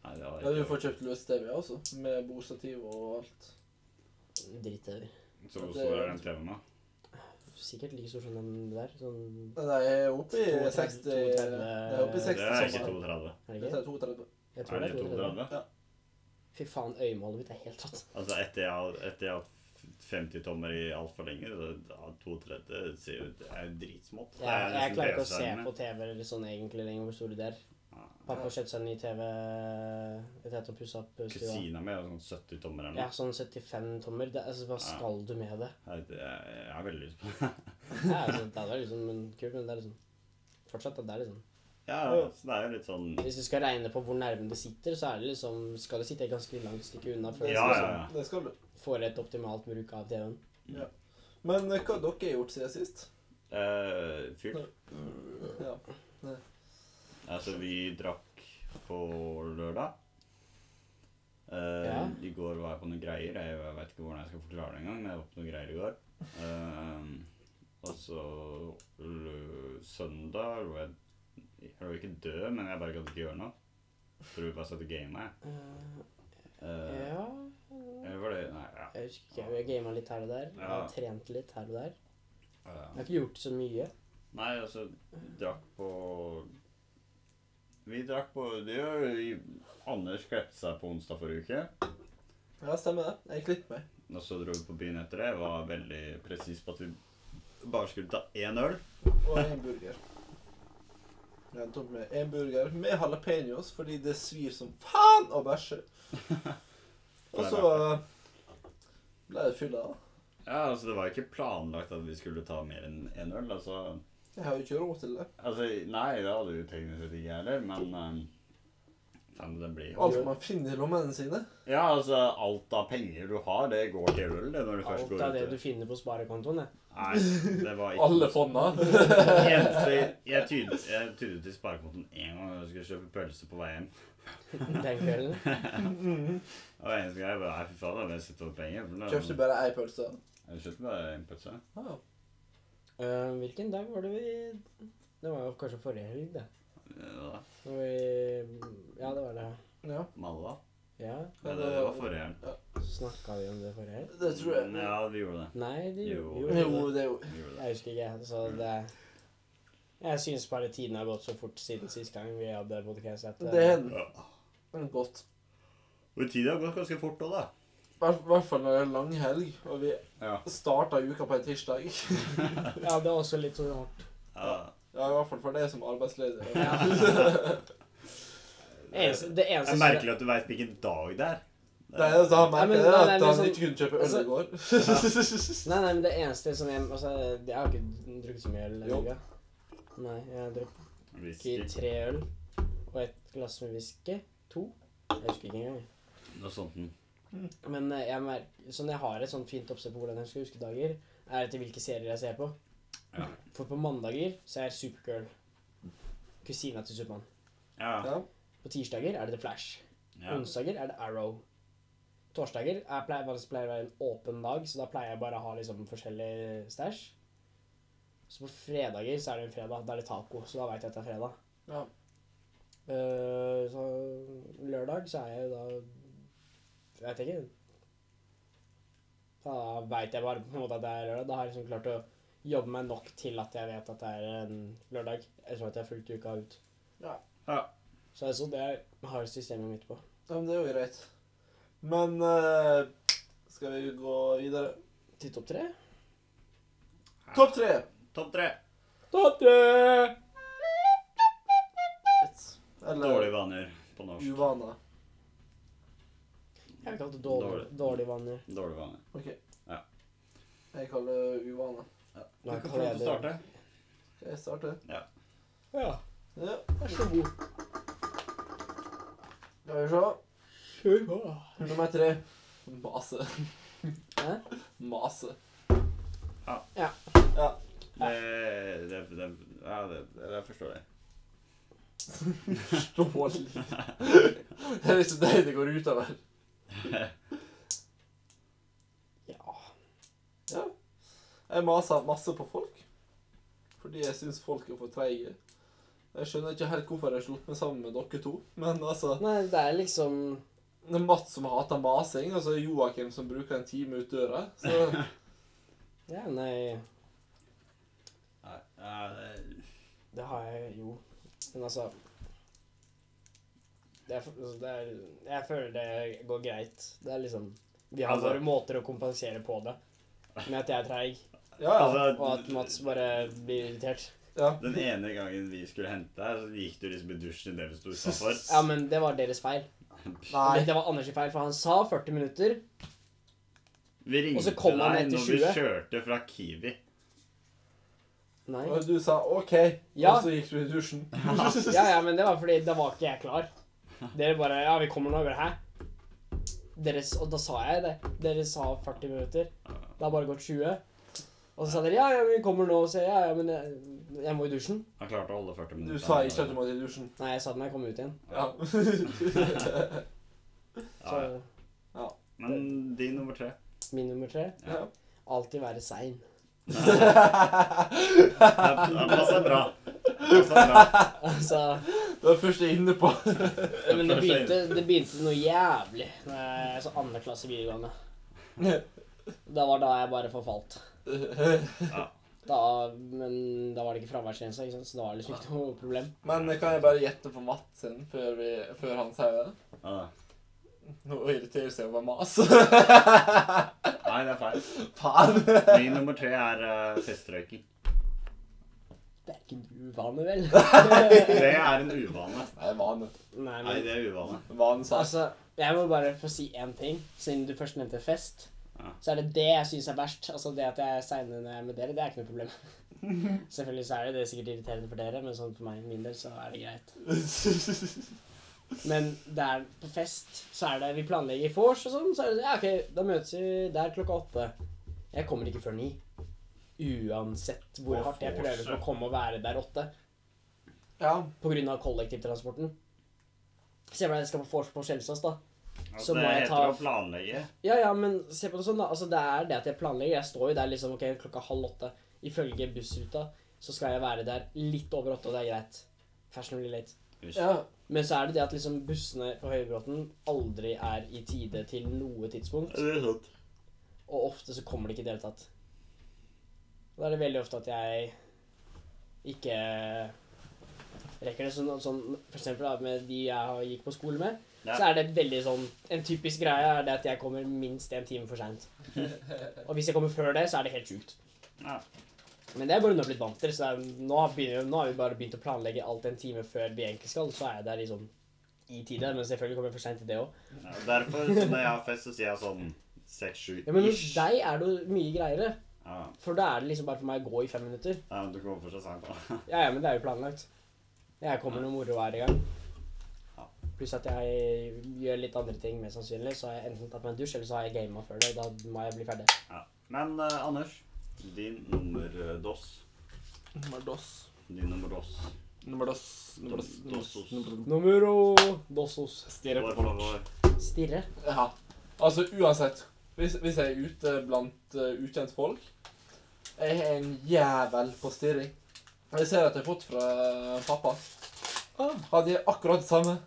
[SPEAKER 2] Nei, det
[SPEAKER 3] ja,
[SPEAKER 2] var
[SPEAKER 3] du
[SPEAKER 2] ikke
[SPEAKER 3] får kjøpt løs TV også, med bordstativ og alt.
[SPEAKER 1] Dritt-TV.
[SPEAKER 2] Så hvor stor er den TV-en, da?
[SPEAKER 1] Sikkert like stor som den der. Sånn,
[SPEAKER 3] Nei, jeg er oppe i
[SPEAKER 1] 32,
[SPEAKER 3] 60 Jeg er oppe i
[SPEAKER 2] Det
[SPEAKER 3] 60
[SPEAKER 2] er ikke
[SPEAKER 3] sommer.
[SPEAKER 2] 32.
[SPEAKER 1] er det
[SPEAKER 3] Dette
[SPEAKER 1] ikke?
[SPEAKER 3] er 32.
[SPEAKER 1] Jeg tror
[SPEAKER 2] Er
[SPEAKER 1] det
[SPEAKER 2] det
[SPEAKER 1] er 32.
[SPEAKER 2] 32?
[SPEAKER 1] Fy faen, øyemålet mitt er helt tatt.
[SPEAKER 2] Altså, etter jeg har- etter jeg har hatt 50 tommer i altfor lenge, det- da 32 ser jo Det er jo dritsmått. Det
[SPEAKER 1] Jeg,
[SPEAKER 2] er liksom
[SPEAKER 1] jeg
[SPEAKER 2] nesten
[SPEAKER 1] klarer ikke å se
[SPEAKER 2] TV-skjermene.
[SPEAKER 1] på TV eller sånn egentlig lenger hvor store de er.
[SPEAKER 2] Ja.
[SPEAKER 1] Pappa har kjøpt seg en ny TV etter at han pussa opp stua.
[SPEAKER 2] Kusina mi har sånn 70 tommer eller
[SPEAKER 1] Ja,
[SPEAKER 2] noe.
[SPEAKER 1] sånn 75 tommer. Det, altså, hva skal du med det?
[SPEAKER 2] Jeg, jeg, jeg har veldig lyst på det.
[SPEAKER 1] Ja, altså, det er liksom men, kult, men det er liksom Fortsatt, det er liksom
[SPEAKER 2] Ja, så det er jo litt sånn
[SPEAKER 1] Hvis du skal regne på hvor nærme det sitter, så er det liksom Skal det sitte et ganske langt stykke unna før
[SPEAKER 2] Ja,
[SPEAKER 1] du
[SPEAKER 2] ja,
[SPEAKER 1] liksom
[SPEAKER 2] ja.
[SPEAKER 3] Det skal du.
[SPEAKER 1] får et optimalt bruk av TV-en.
[SPEAKER 3] Men eh, hva har dere gjort siden sist?
[SPEAKER 2] Eh, Fyrt.
[SPEAKER 3] Ja.
[SPEAKER 2] Altså, vi drakk på lørdag. Eh,
[SPEAKER 1] Ja.
[SPEAKER 2] I går var jeg på noen greier. Jeg, jeg vet ikke hvordan jeg skal forklare det engang. men Jeg var på noen greier i går. Eh, og så lø- søndag lå jeg Jeg lå ikke død, men jeg bare gadd ikke gjøre noe. Tror jeg bare satt og gama, jeg.
[SPEAKER 1] Eh,
[SPEAKER 2] Eh,
[SPEAKER 1] ja
[SPEAKER 2] eller var det Nei, ja.
[SPEAKER 1] Jeg husker ikke. Jeg gama litt her og der. Jeg
[SPEAKER 2] Ja.
[SPEAKER 1] har trent litt her og der. Jeg
[SPEAKER 2] Eh,
[SPEAKER 1] har ikke gjort så mye.
[SPEAKER 2] nei, altså, drakk på Vi drakk på Det gjør Anders kledde seg på onsdag forrige uke.
[SPEAKER 3] ja, stemmer det. Jeg klipper meg.
[SPEAKER 2] Og så dro vi på byen etter det. Var veldig presis på at vi bare skulle ta én øl.
[SPEAKER 3] Og en burger. Jeg endte opp med en burger med jalapeños fordi det svir som faen å bæsje. Og så eh, ble det fylla. da.
[SPEAKER 2] Ja, altså Det var ikke planlagt at vi skulle ta mer enn én øl. Altså,
[SPEAKER 3] Jeg har jo ikke råd til det.
[SPEAKER 2] altså Nei, det hadde vi jo teknisk sett ikke heller, men um, Faen, det blir jo
[SPEAKER 3] Alt man finner i lommene sine.
[SPEAKER 2] Ja, altså, alt av penger du har, det går til øl, det, når du først
[SPEAKER 1] Alt
[SPEAKER 2] går
[SPEAKER 1] av det
[SPEAKER 2] ut.
[SPEAKER 1] du finner på sparekontoen. jeg.
[SPEAKER 2] Nei, det var ikke
[SPEAKER 3] Alle fonna.
[SPEAKER 2] Eneste, jeg tydet jeg tydet til sparekontoen én gang da jeg skulle kjøpe pølse på vei hjem.
[SPEAKER 1] Den kvelden.
[SPEAKER 2] Og eneste gang jeg bare Nei, fy faen, da vil jeg sette over penger. for det-
[SPEAKER 3] Mm-hmm. Kjøpte bare ei pølse.
[SPEAKER 2] Jeg kjøpte bare en pølse.
[SPEAKER 3] Ah,
[SPEAKER 1] Eh, hvilken dag var det vi Det var jo kanskje forrige helg, det.
[SPEAKER 2] Ja, da.
[SPEAKER 1] Når vi Ja, det var det.
[SPEAKER 3] ja.
[SPEAKER 2] Malla.
[SPEAKER 1] Ja,
[SPEAKER 2] Ja, det var forrige helg.
[SPEAKER 1] Snakka vi om det forrige helg?
[SPEAKER 3] Det tror jeg.
[SPEAKER 2] Ja, vi gjorde det.
[SPEAKER 1] Nei, det
[SPEAKER 2] Jo.
[SPEAKER 1] gjorde vi
[SPEAKER 3] Jo,
[SPEAKER 1] det.
[SPEAKER 3] det er jo
[SPEAKER 2] Vi gjorde det.
[SPEAKER 1] Jeg husker ikke, så det Jeg syns bare tiden har gått så fort siden sist gang vi hadde podcast at eh,
[SPEAKER 3] Det er en-
[SPEAKER 2] Ja.
[SPEAKER 3] en godt.
[SPEAKER 2] Og tida har gått ganske fort òg, da.
[SPEAKER 3] I hvert- hvert fall når det er en lang helg, og vi
[SPEAKER 2] Ja.
[SPEAKER 3] starta uka på en tirsdag.
[SPEAKER 1] eh, Ja, det er også litt sånn hardt.
[SPEAKER 2] ja.
[SPEAKER 3] Ja, i hvert fall for deg som arbeidsleder.
[SPEAKER 1] Eneste- Det
[SPEAKER 2] Det
[SPEAKER 1] eneste
[SPEAKER 2] er merkelig at du veit hvilken dag det er.
[SPEAKER 3] Nei, altså, han
[SPEAKER 1] Nei, men-
[SPEAKER 3] merker det
[SPEAKER 1] nei, nei,
[SPEAKER 3] at
[SPEAKER 1] men
[SPEAKER 3] han
[SPEAKER 1] sånn-
[SPEAKER 3] ikke kunne kjøpe øl
[SPEAKER 1] altså-
[SPEAKER 3] i går.
[SPEAKER 1] Nei, nei, men det eneste som jeg Altså, jeg har ikke drukket så mye øl denne
[SPEAKER 3] Jo.
[SPEAKER 1] uka. Nei, jeg har drukket
[SPEAKER 2] Whisky.
[SPEAKER 1] tre øl og et glass med whisky. To. Jeg husker ikke engang.
[SPEAKER 2] Noe sånt. den.
[SPEAKER 1] Men eh, jeg merker, sånn jeg har et sånt fint oppsett på hvordan jeg skal huske dager, er etter hvilke serier jeg ser på.
[SPEAKER 2] Ja.
[SPEAKER 1] For på mandager så er Supergirl kusina til Supermann.
[SPEAKER 2] Ja.
[SPEAKER 3] Ja.
[SPEAKER 1] På tirsdager er det The Flash.
[SPEAKER 2] ja.
[SPEAKER 1] Onsdager er det Arrow. Torsdager er pleier, vanligvis pleier å være en åpen dag, så da pleier jeg bare å ha liksom forskjellig stæsj. Så på fredager så er det en fredag. Da er det taco, så da veit jeg at det er fredag.
[SPEAKER 3] Ja.
[SPEAKER 1] Eh, så lørdag så er jeg da Jeg vet ikke. Da veit jeg bare på en måte at det er lørdag. Da har jeg liksom klart å jobbe meg nok til at jeg vet at det er en lørdag. Ettersom at jeg har fulgt uka ut.
[SPEAKER 2] ja.
[SPEAKER 1] Så det er sånn det jeg har systemet mitt på.
[SPEAKER 3] Ja, men det er jo greit. Men eh, skal vi gå videre?
[SPEAKER 1] Til topp tre?
[SPEAKER 3] Topp tre!
[SPEAKER 2] Topp tre.
[SPEAKER 1] Topp tre!
[SPEAKER 3] Eller
[SPEAKER 2] Dårlige vaner på norsk.
[SPEAKER 3] uvaner.
[SPEAKER 1] Jeg vil kalle det dårlig,
[SPEAKER 2] Dårlig.
[SPEAKER 1] dårlig vaner.
[SPEAKER 2] Dårlige vaner.
[SPEAKER 3] OK.
[SPEAKER 2] Ja.
[SPEAKER 3] Jeg kaller det uvaner.
[SPEAKER 2] Du
[SPEAKER 1] Nå er
[SPEAKER 2] kan få lov til å
[SPEAKER 1] kalender-
[SPEAKER 2] starte.
[SPEAKER 3] Skal jeg starte?
[SPEAKER 1] Ja,
[SPEAKER 3] Ja,
[SPEAKER 1] vær så god.
[SPEAKER 3] skal vi se.
[SPEAKER 1] Kjør på.
[SPEAKER 3] Nummer tre. Mase.
[SPEAKER 1] Hæ?
[SPEAKER 3] Mase.
[SPEAKER 2] Det, det, det, ja, det, det jeg forstår jeg.
[SPEAKER 3] Stålig. Det er liksom deg det går utover.
[SPEAKER 1] Ja.
[SPEAKER 3] Ja. Jeg maser masse på folk. Fordi jeg syns folk er for treige. Jeg skjønner ikke helt hvorfor jeg har slått meg sammen med dere to. Men altså
[SPEAKER 1] Nei, det er liksom
[SPEAKER 3] Det er Mats som hater masing, og så er det Joakim som bruker en time ut døra. Så
[SPEAKER 1] Ja, nei
[SPEAKER 2] Nei, ja, det,
[SPEAKER 1] Det har jeg jo. Men altså det er, altså, det er, Jeg føler det går greit. Det er liksom Vi har
[SPEAKER 2] Altså-
[SPEAKER 1] våre måter å kompensere på det. Med at jeg er treig,
[SPEAKER 3] ja, ja.
[SPEAKER 1] og at
[SPEAKER 2] altså,
[SPEAKER 1] Mats bare blir irritert.
[SPEAKER 3] ja.
[SPEAKER 2] den ene gangen vi skulle hente her, så gikk du liksom i dusjen i det vi sto utenfor.
[SPEAKER 1] Ja, men det var deres feil.
[SPEAKER 3] Nei.
[SPEAKER 1] Det var Anders sin feil, for han sa 40 minutter.
[SPEAKER 2] Vi
[SPEAKER 1] Og så
[SPEAKER 2] ringte
[SPEAKER 1] kom han
[SPEAKER 2] deg
[SPEAKER 1] etter
[SPEAKER 2] når vi
[SPEAKER 1] 20.
[SPEAKER 2] kjørte fra Kiwi.
[SPEAKER 1] Nei.
[SPEAKER 3] Og du sa OK,
[SPEAKER 1] Ja.
[SPEAKER 3] og så gikk du i dusjen.
[SPEAKER 1] Ja, ja, men det var fordi da var ikke jeg klar. Dere bare Ja, vi kommer nå. Jeg bare, Hæ? Dere, s- og da sa jeg det. Dere sa 40 minutter. Det har bare gått 20. Og så sa dere ja, ja, vi kommer nå. Og så ja, ja, men jeg, jeg må i dusjen.
[SPEAKER 2] Han klarte å holde 40
[SPEAKER 3] Du
[SPEAKER 2] minutter.
[SPEAKER 3] sa ikke at du måtte i dusjen.
[SPEAKER 1] Nei, jeg sa det når jeg kom ut igjen.
[SPEAKER 3] Ja.
[SPEAKER 1] Så
[SPEAKER 2] Ja, men din nummer tre.
[SPEAKER 1] min nummer tre
[SPEAKER 3] ja.
[SPEAKER 1] alltid være sein.
[SPEAKER 2] Han han passer bra. Han Passer bra.
[SPEAKER 1] Altså
[SPEAKER 3] Det var først jeg er inne på.
[SPEAKER 1] ja, Men det
[SPEAKER 2] Først sein.
[SPEAKER 1] begynte, det begynte noe jævlig da jeg så andre klasse videregående. Da var da jeg bare forfalt. Da, men da var det ikke fraværsgrensa, ikke sant? så da var det liksom ikke noe problem.
[SPEAKER 3] Men kan jeg bare gjette på Mats sin før, vi, før han sier det?
[SPEAKER 2] Ja, da.
[SPEAKER 3] Nå irriterer seg over mas.
[SPEAKER 2] Nei, det er feil.
[SPEAKER 3] Faen.
[SPEAKER 2] Min nummer tre er uh, festrøyking.
[SPEAKER 1] Det er ikke en uvane, vel?
[SPEAKER 2] Det er en uvane.
[SPEAKER 3] Nei, vane.
[SPEAKER 1] Nei,
[SPEAKER 2] Nei,
[SPEAKER 1] men
[SPEAKER 2] det er uvane.
[SPEAKER 3] Vane sa
[SPEAKER 1] altså Jeg må bare få si én ting, siden du først nevnte fest.
[SPEAKER 2] Ja.
[SPEAKER 1] Så er det det jeg syns er verst. Altså Det at jeg er seinere når jeg er med dere, det er ikke noe problem. Selvfølgelig så er det, det er sikkert irriterende for dere, men sånn for meg min del så er det greit. Men der på fest så er det Vi planlegger vors og sånn, så er det ja, OK, da møtes vi der klokka åtte. Jeg kommer ikke før ni. Uansett hvor
[SPEAKER 2] Å,
[SPEAKER 1] hardt jeg prøver på å
[SPEAKER 2] vorse.
[SPEAKER 1] komme og være der åtte.
[SPEAKER 3] Ja.
[SPEAKER 1] På grunn av kollektivtransporten. Se for deg jeg skal på vors på Skjelsås, da.
[SPEAKER 2] Altså,
[SPEAKER 1] Så må
[SPEAKER 2] det
[SPEAKER 1] jeg ta-
[SPEAKER 2] heter å planlegge.
[SPEAKER 1] Ja, ja, men se på det sånn, da. Altså, det er det at jeg planlegger. Jeg står jo der liksom ok, klokka halv åtte. Ifølge bussruta så skal jeg være der litt over åtte, og det er greit. Fashionably late.
[SPEAKER 3] ja.
[SPEAKER 1] Men så er det det at liksom bussene på Høybråten aldri er i tide til noe tidspunkt.
[SPEAKER 2] Det er sant.
[SPEAKER 1] Og ofte så kommer de ikke i det hele tatt. Da er det veldig ofte at jeg ikke rekker det. Sånn, sånn for eksempel da, med de jeg har- gikk på skole med,
[SPEAKER 2] Ja.
[SPEAKER 1] så er det veldig sånn En typisk greie er det at jeg kommer minst en time for seint. Og hvis jeg kommer før det, så er det helt sjukt.
[SPEAKER 2] Ja.
[SPEAKER 1] Men det er bare noe jeg har blitt vant til. Så det er, nå, begynner, nå har vi bare begynt å planlegge alt en time før vi egentlig skal, så er jeg der liksom i tide. Men selvfølgelig kommer jeg for seint til det òg.
[SPEAKER 2] Ja, og Derfor, så når jeg har fest, så sier jeg sånn
[SPEAKER 1] Ja, men hos
[SPEAKER 2] 6-7-ish.
[SPEAKER 1] deg er det jo mye greiere.
[SPEAKER 2] Ja,
[SPEAKER 1] For da er det liksom bare for meg å gå i fem minutter.
[SPEAKER 2] ja, men du kommer fortsatt seint, da.
[SPEAKER 1] Ja, ja, men det er jo planlagt. Jeg kommer noe moro hver gang.
[SPEAKER 2] Ja.
[SPEAKER 1] Pluss at jeg gjør litt andre ting, mest sannsynlig. Så har jeg enten tatt meg en dusj, eller så har jeg gama før det. og Da må jeg bli ferdig.
[SPEAKER 2] Ja. Men eh, Anders, din nummer eh, dos.
[SPEAKER 3] Nummer dos.
[SPEAKER 2] Din nummer dos.
[SPEAKER 3] Nummer dos. Nummer dos.
[SPEAKER 2] Dosos.
[SPEAKER 1] Numero dosos.
[SPEAKER 3] Stirre på
[SPEAKER 2] Vår
[SPEAKER 3] folk.
[SPEAKER 2] favor.
[SPEAKER 1] Stirre.
[SPEAKER 3] Ja. Altså, uansett. Hvis, hvis jeg er ute blant eh, ukjent folk, jeg er en jævel på stirring. Jeg ser at jeg har fått fra eh, pappa. Hadde jeg akkurat det samme.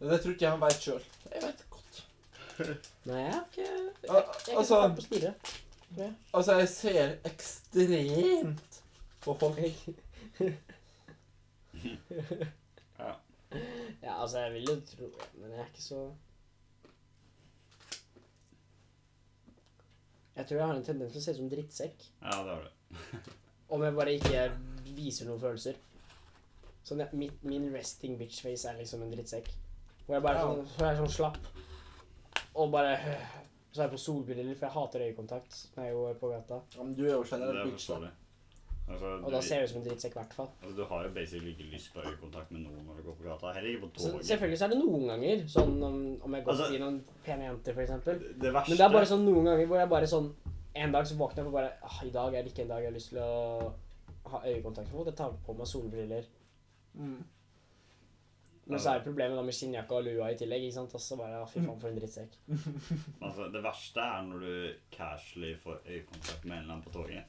[SPEAKER 3] Men Det tror ikke jeg han veit sjøl. Jeg veit godt.
[SPEAKER 1] Nei, jeg er ikke Jeg
[SPEAKER 3] Al
[SPEAKER 1] er ikke så
[SPEAKER 3] altså,
[SPEAKER 1] fan på stirre.
[SPEAKER 3] altså, jeg ser ekstremt på folk.
[SPEAKER 2] Ja.
[SPEAKER 1] Ja, altså, jeg vil jo tro Men jeg er ikke så Jeg tror jeg har en tendens til å se ut som drittsekk.
[SPEAKER 2] ja, det har du.
[SPEAKER 1] Om jeg bare ikke viser noen følelser. Sånn, ja, mitt, min resting bitch face er liksom en drittsekk. Hvor jeg bare er sånn, hvor jeg er sånn slapp. Og bare øh, Så er jeg på solbriller, for jeg hater øyekontakt når jeg går på gata.
[SPEAKER 3] Ja, men du er jo
[SPEAKER 2] Det er
[SPEAKER 3] generelt bitch, da.
[SPEAKER 2] forståelig. Altså,
[SPEAKER 1] Og da
[SPEAKER 2] du,
[SPEAKER 1] ser jeg ut som en drittsekk, i hvert fall.
[SPEAKER 2] altså, du har jo basically ikke lyst på øyekontakt med noen når du går på gata. Heller ikke på
[SPEAKER 1] Så
[SPEAKER 2] toget.
[SPEAKER 1] selvfølgelig så er det noen ganger, sånn om, om jeg går
[SPEAKER 2] Altså-
[SPEAKER 1] forbi noen pene jenter, for eksempel.
[SPEAKER 2] Det- Det verste
[SPEAKER 1] Men det er bare sånn noen ganger hvor jeg bare sånn En dag så våkner jeg og bare ah, I dag er det ikke en dag jeg har lyst til å ha øyekontakt med folk. Jeg tar på meg solbriller.
[SPEAKER 3] Mm.
[SPEAKER 1] Men så er det problemet da med skinnjakka og lua i tillegg. ikke sant? Og så bare ah, Fy faen, for en drittsekk. sånn-
[SPEAKER 2] Altså, det verste er når du casually får øyekontakt med en eller annen på toget.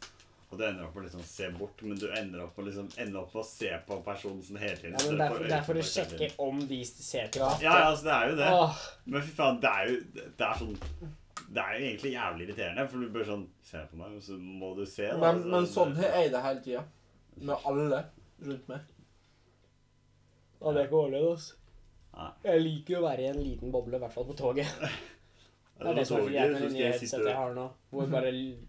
[SPEAKER 2] Og du ender opp med å liksom se bort, men du ender opp med, liksom, ender opp med å se på personen sånn hele tiden.
[SPEAKER 1] Ja, men
[SPEAKER 2] så
[SPEAKER 1] det
[SPEAKER 2] du
[SPEAKER 1] er
[SPEAKER 2] får
[SPEAKER 1] for- det er for å
[SPEAKER 2] øyekontakt hele
[SPEAKER 1] sjekke
[SPEAKER 2] tiden.
[SPEAKER 1] om de ser
[SPEAKER 3] Ja.
[SPEAKER 1] tilbake.
[SPEAKER 2] Ja, ja, altså, det er jo det.
[SPEAKER 1] Åh,
[SPEAKER 2] Men fy faen, det er jo Det er sånn Det er jo egentlig jævlig irriterende, for du bør sånn Se på meg, og så må du se. da,
[SPEAKER 3] Men,
[SPEAKER 2] altså,
[SPEAKER 3] men
[SPEAKER 2] det-
[SPEAKER 3] sånn har jeg det hele tida. Med alle rundt meg.
[SPEAKER 1] ja, det er ikke overlevd, altså.
[SPEAKER 2] Nei.
[SPEAKER 1] Jeg liker jo å være i en liten boble, i hvert fall på toget. Det
[SPEAKER 2] på
[SPEAKER 1] er det som er så
[SPEAKER 2] toget,
[SPEAKER 1] jævlig med
[SPEAKER 2] så
[SPEAKER 1] det
[SPEAKER 2] skal
[SPEAKER 1] nye
[SPEAKER 2] jeg
[SPEAKER 1] headsetet jeg
[SPEAKER 2] sitte-
[SPEAKER 1] har nå. Hvor bare l-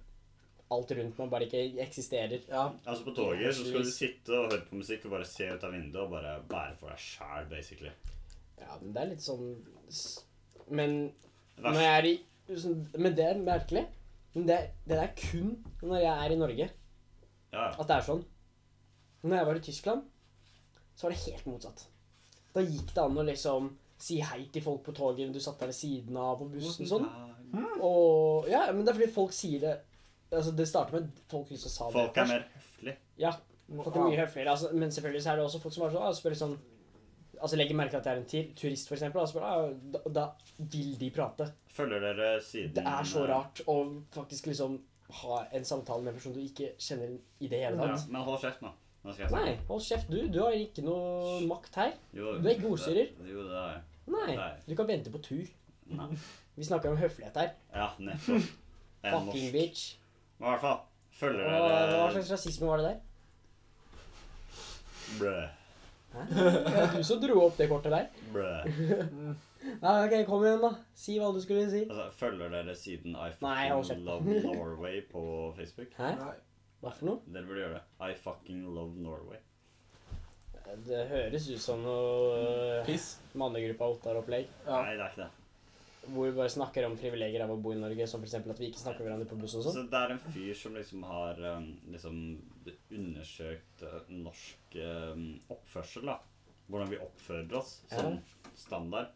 [SPEAKER 1] alt rundt meg bare ikke eksisterer.
[SPEAKER 3] Ja.
[SPEAKER 2] Altså På toget så skal du sitte og høre på musikk og bare se ut av vinduet og bare være for deg sjæl, basically.
[SPEAKER 1] Ja, men det er litt sånn s- Men
[SPEAKER 2] Det
[SPEAKER 1] når
[SPEAKER 2] verste-
[SPEAKER 1] jeg er i sånn- Men det er merkelig. Men det, det er kun når jeg er i Norge
[SPEAKER 2] Ja, ja.
[SPEAKER 1] at det er sånn. Når jeg var i Tyskland, så var det helt motsatt. Da gikk det an å liksom si hei til folk på toget, du satt der ved siden av på bussen sånn. Og ja, men det er fordi folk sier det Altså, det starter med folk som sa det
[SPEAKER 2] Folk er mer høflige.
[SPEAKER 1] Ja, folk er mye høfligere. Altså, men selvfølgelig så er det også folk som er sånn, ah, spør sånn Altså legger merke til at det er en tur- turist, for eksempel. Og spør, ah, da, da vil de prate.
[SPEAKER 2] Følger dere siden
[SPEAKER 1] Det er så
[SPEAKER 2] eh,
[SPEAKER 1] rart å faktisk liksom ha en samtale med en person du ikke kjenner i det hele
[SPEAKER 2] Ja,
[SPEAKER 1] tatt.
[SPEAKER 2] men hold kjeft nå. Nå skal jeg snakke.
[SPEAKER 1] Nei, hold kjeft. Du, du har ikke noe makt her.
[SPEAKER 2] Jo,
[SPEAKER 1] Du er ikke ordstyrer.
[SPEAKER 2] det- Jo, det er jeg.
[SPEAKER 1] Nei.
[SPEAKER 2] Nei.
[SPEAKER 1] Du kan vente på tur.
[SPEAKER 2] Nei.
[SPEAKER 1] Vi snakker om høflighet her.
[SPEAKER 2] Ja, nettopp. Jeg er
[SPEAKER 1] Fucking
[SPEAKER 2] norsk.
[SPEAKER 1] bitch.
[SPEAKER 2] Men i hvert fall,
[SPEAKER 1] Og,
[SPEAKER 2] følger
[SPEAKER 1] hva
[SPEAKER 2] dere
[SPEAKER 1] slags rasisme var det der?
[SPEAKER 2] Blø.
[SPEAKER 1] Hæ? Det var Du som dro opp det kortet der.
[SPEAKER 2] Blø.
[SPEAKER 1] Mm. Nei, ok, kom igjen, da. Si hva du skulle si.
[SPEAKER 2] Altså, følger dere siden I
[SPEAKER 1] Nei, hold kjeft.
[SPEAKER 2] fucking love Norway på Facebook?
[SPEAKER 1] Hæ?
[SPEAKER 3] Nei.
[SPEAKER 1] Hva for noe?
[SPEAKER 2] Dere burde gjøre det. I fucking love Norway.
[SPEAKER 1] Det høres ut som noe eh,
[SPEAKER 3] Piss.
[SPEAKER 1] mannegruppa Ottar-opplegg.
[SPEAKER 3] Ja.
[SPEAKER 2] Nei, det er ikke det.
[SPEAKER 1] Hvor vi bare snakker om privilegier av å bo i Norge, som f.eks. at vi ikke snakker med hverandre på buss og sånn.
[SPEAKER 2] Så det er en fyr som liksom har um, liksom undersøkt uh, norsk um, oppførsel, da. Hvordan vi oppfører oss som standard.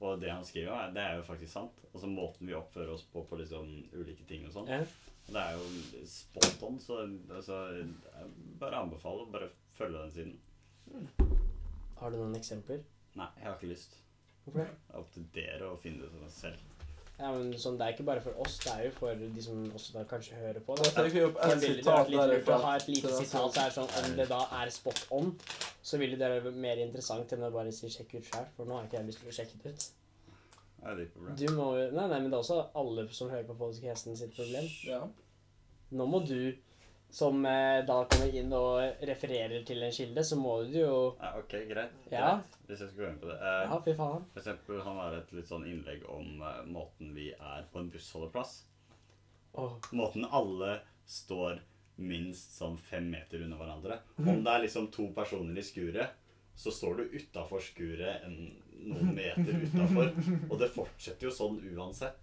[SPEAKER 2] Og det han skriver, er, det er jo faktisk sant. Altså måten vi oppfører oss på på liksom ulike ting og sånn.
[SPEAKER 1] Ja.
[SPEAKER 2] Det er jo spot on, så altså, jeg bare anbefaler å bare følge den siden.
[SPEAKER 1] Har du noen eksempler?
[SPEAKER 2] Nei, jeg har ikke lyst.
[SPEAKER 1] Hvorfor det?
[SPEAKER 2] Det er opp til dere å finne det ut selv.
[SPEAKER 1] Ja, men sånn, Det er ikke bare for oss, det er jo for de som også da kanskje hører på.
[SPEAKER 3] Da
[SPEAKER 1] Da.
[SPEAKER 3] tenker jeg opp
[SPEAKER 1] For
[SPEAKER 3] et
[SPEAKER 1] det ville det
[SPEAKER 3] sitat
[SPEAKER 1] vært litt
[SPEAKER 3] der.
[SPEAKER 1] lurt å ha et lite
[SPEAKER 3] fra-
[SPEAKER 1] sitat så er det sånn, om det da er spot on, så ville det være mer interessant enn å bare si 'sjekk ut sjæl', for nå har ikke jeg lyst til å sjekke det ut.
[SPEAKER 2] Det er ditt problem.
[SPEAKER 1] Du må jo Nei, nei, men det er også alle som hører på podcasten sitt problem.
[SPEAKER 3] Ja.
[SPEAKER 1] Nå må du, som eh, da kommer inn og refererer til en kilde, så må du jo
[SPEAKER 2] Ja, ok, greit.
[SPEAKER 1] Ja.
[SPEAKER 2] greit. Hvis jeg skal gå inn på det. Eh,
[SPEAKER 1] Ja, fy faen.
[SPEAKER 2] For eksempel, han har et litt sånn innlegg om eh, måten vi er på en bussholdeplass.
[SPEAKER 1] Åh,
[SPEAKER 2] Måten alle står minst sånn fem meter under hverandre.
[SPEAKER 3] Mhm.
[SPEAKER 2] Om det er liksom to personer i skuret, så står du utafor skuret en, noen meter utafor. Og det fortsetter jo sånn uansett.